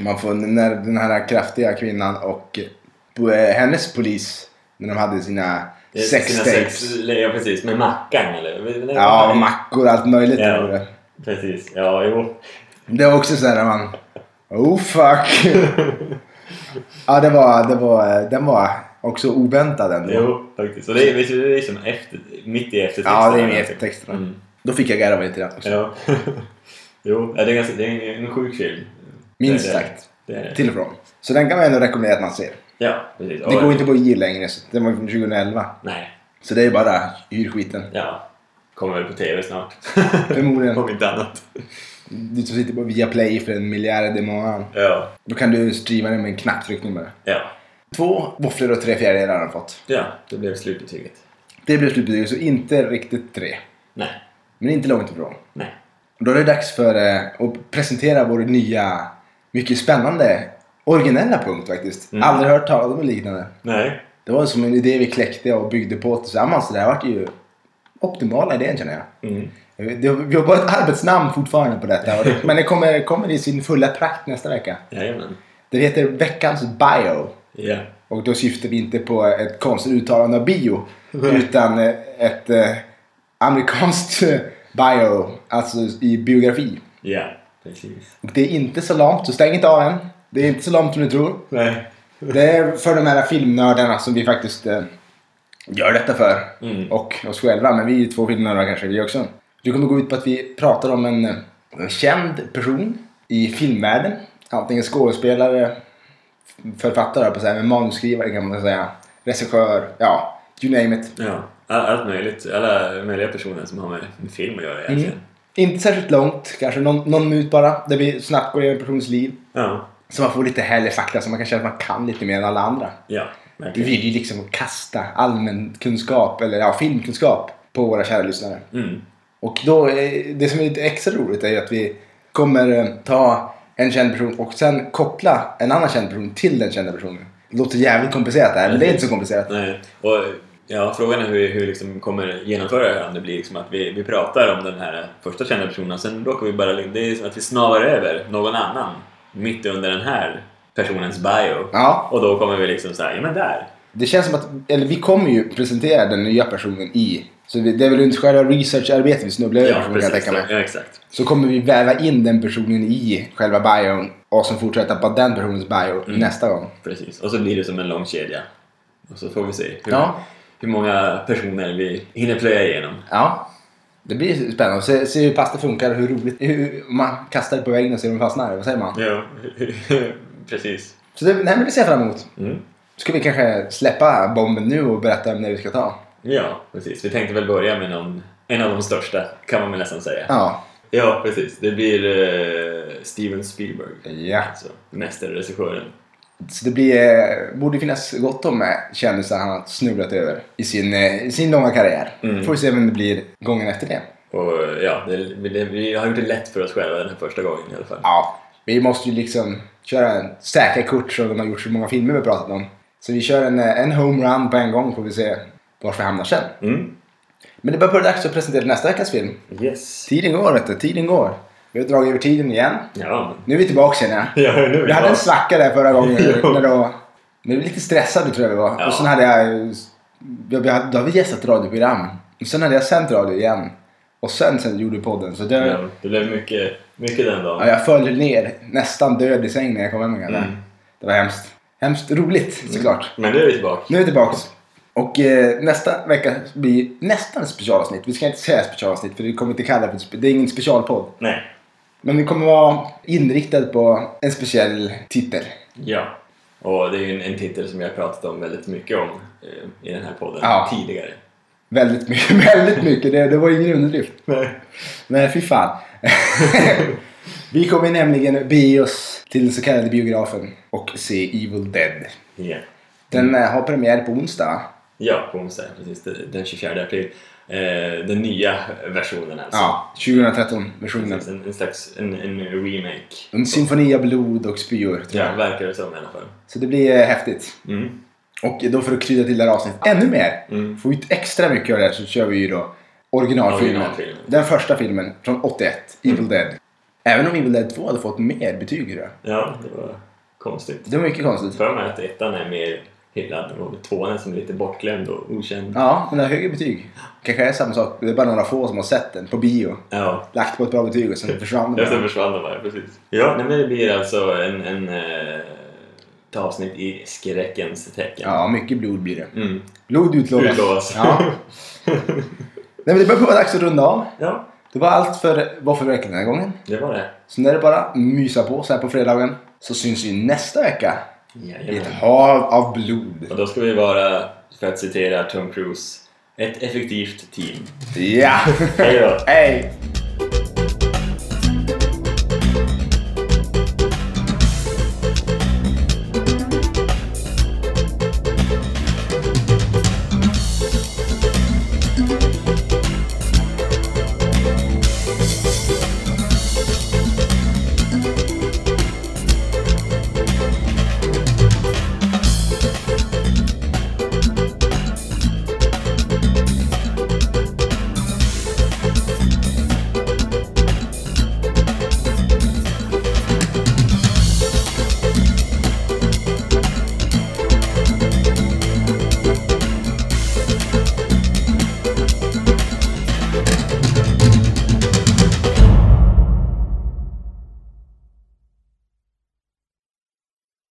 A: man får, när den här kraftiga kvinnan och eh, po- eh, hennes polis, när de hade sina
B: Det är sina
A: sextapes?
B: sex- Ja, precis. Med Mackan, eller? Nej,
A: Ja,
B: nej.
A: mackor och allt möjligt.
B: Ja.
A: var Det.
B: Precis. Ja, jo.
A: det var också så här när man... Oh fuck! ja, det var, det var, den var också oväntad ändå.
B: jo faktiskt. Och det är, visst, det är som efter, mitt i eftertexten.
A: Ja, det är med eftertexterna.
B: Mm.
A: Då fick jag garva lite grann också.
B: Ja. jo, ja, det är, ganska, det är en sjuk film.
A: Minst
B: Det är det.
A: sagt.
B: Det är det.
A: Till och från. Så den kan man ändå rekommendera att man ser.
B: Ja, precis.
A: Det
B: Och-
A: går inte på IG längre. Så den var från 2011.
B: Nej.
A: Så det är bara hyr skiten.
B: Ja. Kommer väl på TV snart.
A: Förmodligen.
B: Om inte annat.
A: Du som sitter på Viaplay för en miljard i månaden.
B: Ja.
A: Då kan du streama den med en knapptryckning bara.
B: Ja.
A: Två våfflor och tre fjärdedelar har den fått.
B: Ja, det blev slutbetyget.
A: Det blev slutbetyget, så inte riktigt tre.
B: Nej.
A: Men inte långt ifrån.
B: Nej.
A: Då är det dags för eh, att presentera vår nya, mycket spännande, originella punkt faktiskt.
B: Mm.
A: Aldrig hört talas om något liknande.
B: Nej.
A: Det var som en idé vi kläckte och byggde på tillsammans. så Det här vart ju optimala idén känner jag. Eh,
B: Mm.
A: Det- Vi har bara ett arbetsnamn fortfarande på detta. och det- Men det kommer, kommer i sin fulla prakt nästa vecka.
B: Jajamän.
A: Det heter Veckans Bio.
B: Ja.
A: Och då syftar vi inte på ett konstigt uttalande av bio. Utan eh, ett eh, amerikanskt eh, bio. Alltså i biografi.
B: Ja. Precis.
A: Och det är inte så långt, så stäng inte av än. Det är inte så långt som du tror.
B: Nej.
A: Det är för de här filmnördarna som vi faktiskt eh, gör detta för.
B: Mm.
A: Och oss själva, men vi är ju två filmnördar kanske, vi också. Det kommer gå ut på att vi pratar om en, eh, en känd person i filmvärlden. Antingen skådespelare, författare, höll jag på att säga, men manusskrivare kan man säga. Regissör, ja, you name it.
B: Ja, all- allt möjligt. Alla möjliga personer som har med med film att
A: Mm.
B: göra egentligen.
A: Inte särskilt långt, kanske någon, någon minut bara, där vi snabbt går igenom en persons liv.
B: Ja,
A: Så man får lite härlig fakta, så man kan känna att man kan lite mer än alla andra.
B: ja,
A: Vi
B: verkligen.
A: vill ju liksom kasta allmän kunskap, eller ja, filmkunskap, på våra kära lyssnare.
B: Mm.
A: Och då, eh, det som är lite extra roligt är ju att vi kommer eh, ta en känd person och sen koppla en annan känd person till den kända personen. Det låter jävligt komplicerat det här, men det är inte så komplicerat.
B: Nej. Och, ja, frågan är hur vi hur vi liksom kommer genomföra det här. Om det blir liksom att vi, vi pratar om den här första kända personen och sen råkar vi bara... Det är som att vi snavar över någon annan mitt under den här personens bio.
A: Ja,
B: Och då kommer vi liksom såhär, ja men där!
A: det känns som att, eller vi kommer ju presentera den nya personen i, så vi, det är väl under själva researcharbetet vi snubblar över,
B: Ja,
A: som jag kan
B: precis.
A: tänka mig.
B: Ja, exakt.
A: Så kommer vi väva in den personen i själva bion och sen fortsätta på den personens bio
B: Mm.
A: nästa gång.
B: precis. Och så blir det som en lång kedja. Och så får vi se hur,
A: Ja.
B: hur många personer vi hinner plöja igenom.
A: Ja, det blir spännande. Se, se hur pass det funkar och hur roligt, hur om man kastar det på väggen och ser om det fastnar. Vad säger man?
B: Ja, precis.
A: Så det, nej, men det ser jag fram emot.
B: Mm.
A: Ska vi kanske släppa bomben nu och berätta om det vi ska ta?
B: Ja, precis. Vi tänkte väl börja med någon, en av de största, kan man väl nästan säga.
A: Ja.
B: Ja, precis. Det blir eh, Steven Spielberg.
A: ja.
B: Alltså, mästerregissören.
A: Så det blir, eh, borde finnas gott om eh, kändisar han har snubblat över i sin, eh, i sin långa karriär.
B: Mm.
A: Får vi se vem det blir gången efter det.
B: Och eh, ja, det, det, vi har gjort det lätt för oss själva den här första gången i alla fall.
A: Ja, vi måste ju liksom köra en säkra kort som de har gjort så många filmer vi pratat om. Så vi kör en, eh, en homerun på en gång får vi se vart vi hamnar sen.
B: Mm.
A: Men det börjar bli dags att presentera nästa veckas film.
B: Yes.
A: Tiden går vet du, tiden går. Vi har dragit över tiden igen.
B: Ja, men...
A: Nu är vi tillbaka känner jag.
B: Ja, nu är
A: Vi hade en svacka där förra gången.
B: Jo.
A: när då, men vi var lite stressade tror jag vi var.
B: Ja.
A: Och sen hade jag ju- jag- jag- Då har vi gästat radioprogram. Och sen hade jag sänt radio igen. Och sen, sen gjorde vi podden. Så det,
B: ja, det blev mycket, mycket den
A: ja,
B: dagen.
A: jag föll ner nästan död i sängen när jag kom hem igen. Det var hemskt. Hemskt roligt såklart.
B: Men nu är vi tillbaka.
A: Nu är vi tillbaka. Och eh, nästa vecka blir nästan ett specialavsnitt. Vi ska inte säga specialavsnitt för det kommer inte kalla det för ett spe- Det är ingen specialpodd.
B: Nej.
A: Men den kommer vara inriktad på en speciell titel.
B: Ja, och det är ju en, en titel som jag har pratat om väldigt mycket om eh, i den här podden
A: Ja.
B: tidigare.
A: Väldigt mycket, väldigt mycket. Det, det var ingen underdrift. Men fy fan. Vi kommer nämligen bege oss till den så kallade biografen och se Evil Dead.
B: Ja.
A: Den eh, har premiär på onsdag.
B: ja, på onsdag, precis, den 24 april. Eh, den nya versionen alltså.
A: Ja, 2013 versionen.
B: Precis, En, en slags en, en remake.
A: En symfoni av blod och spyor. tror jag.
B: Ja, verkar det som i alla fall.
A: Så det blir eh, häftigt.
B: Mm.
A: Och då för att krydda till det här avsnittet ännu mer.
B: Mm.
A: Få ut extra mycket av det här så kör vi ju då originalfilmen.
B: Originalfilmen. Mm.
A: Den första filmen från 81, Evil Dead. Även om Evil Dead 2 hade fått mer betyg tror jag.
B: Ja, det var konstigt.
A: Det var mycket konstigt.
B: för mig att ettan är mer hyllad och tvåan är som lite bortglömd och okänd.
A: Ja, men den har högre betyg. Kanske är samma sak. Det är bara några få som har sett den på bio.
B: Ja.
A: Lagt på ett bra betyg och sen försvann
B: Jag sen
A: den.
B: försvann de bara, precis. Ja, nej, men det blir alltså en, en eh, ett avsnitt i skräckens tecken.
A: Ja, mycket blod blir det.
B: Mm.
A: Blod utlovas.
B: Utlovas.
A: Ja. Nej, men det börjar vara dags att runda av.
B: ja,
A: Det var allt för Varför verkligen den här gången.
B: det var det.
A: Så nu är det bara att mysa på så här på fredagen. Så syns vi nästa vecka i ett
B: Jajamän.
A: hav av blod.
B: Och då ska vi vara, för att citera Tom Cruise, ett effektivt team.
A: Ja!
B: Hej då!
A: Hej!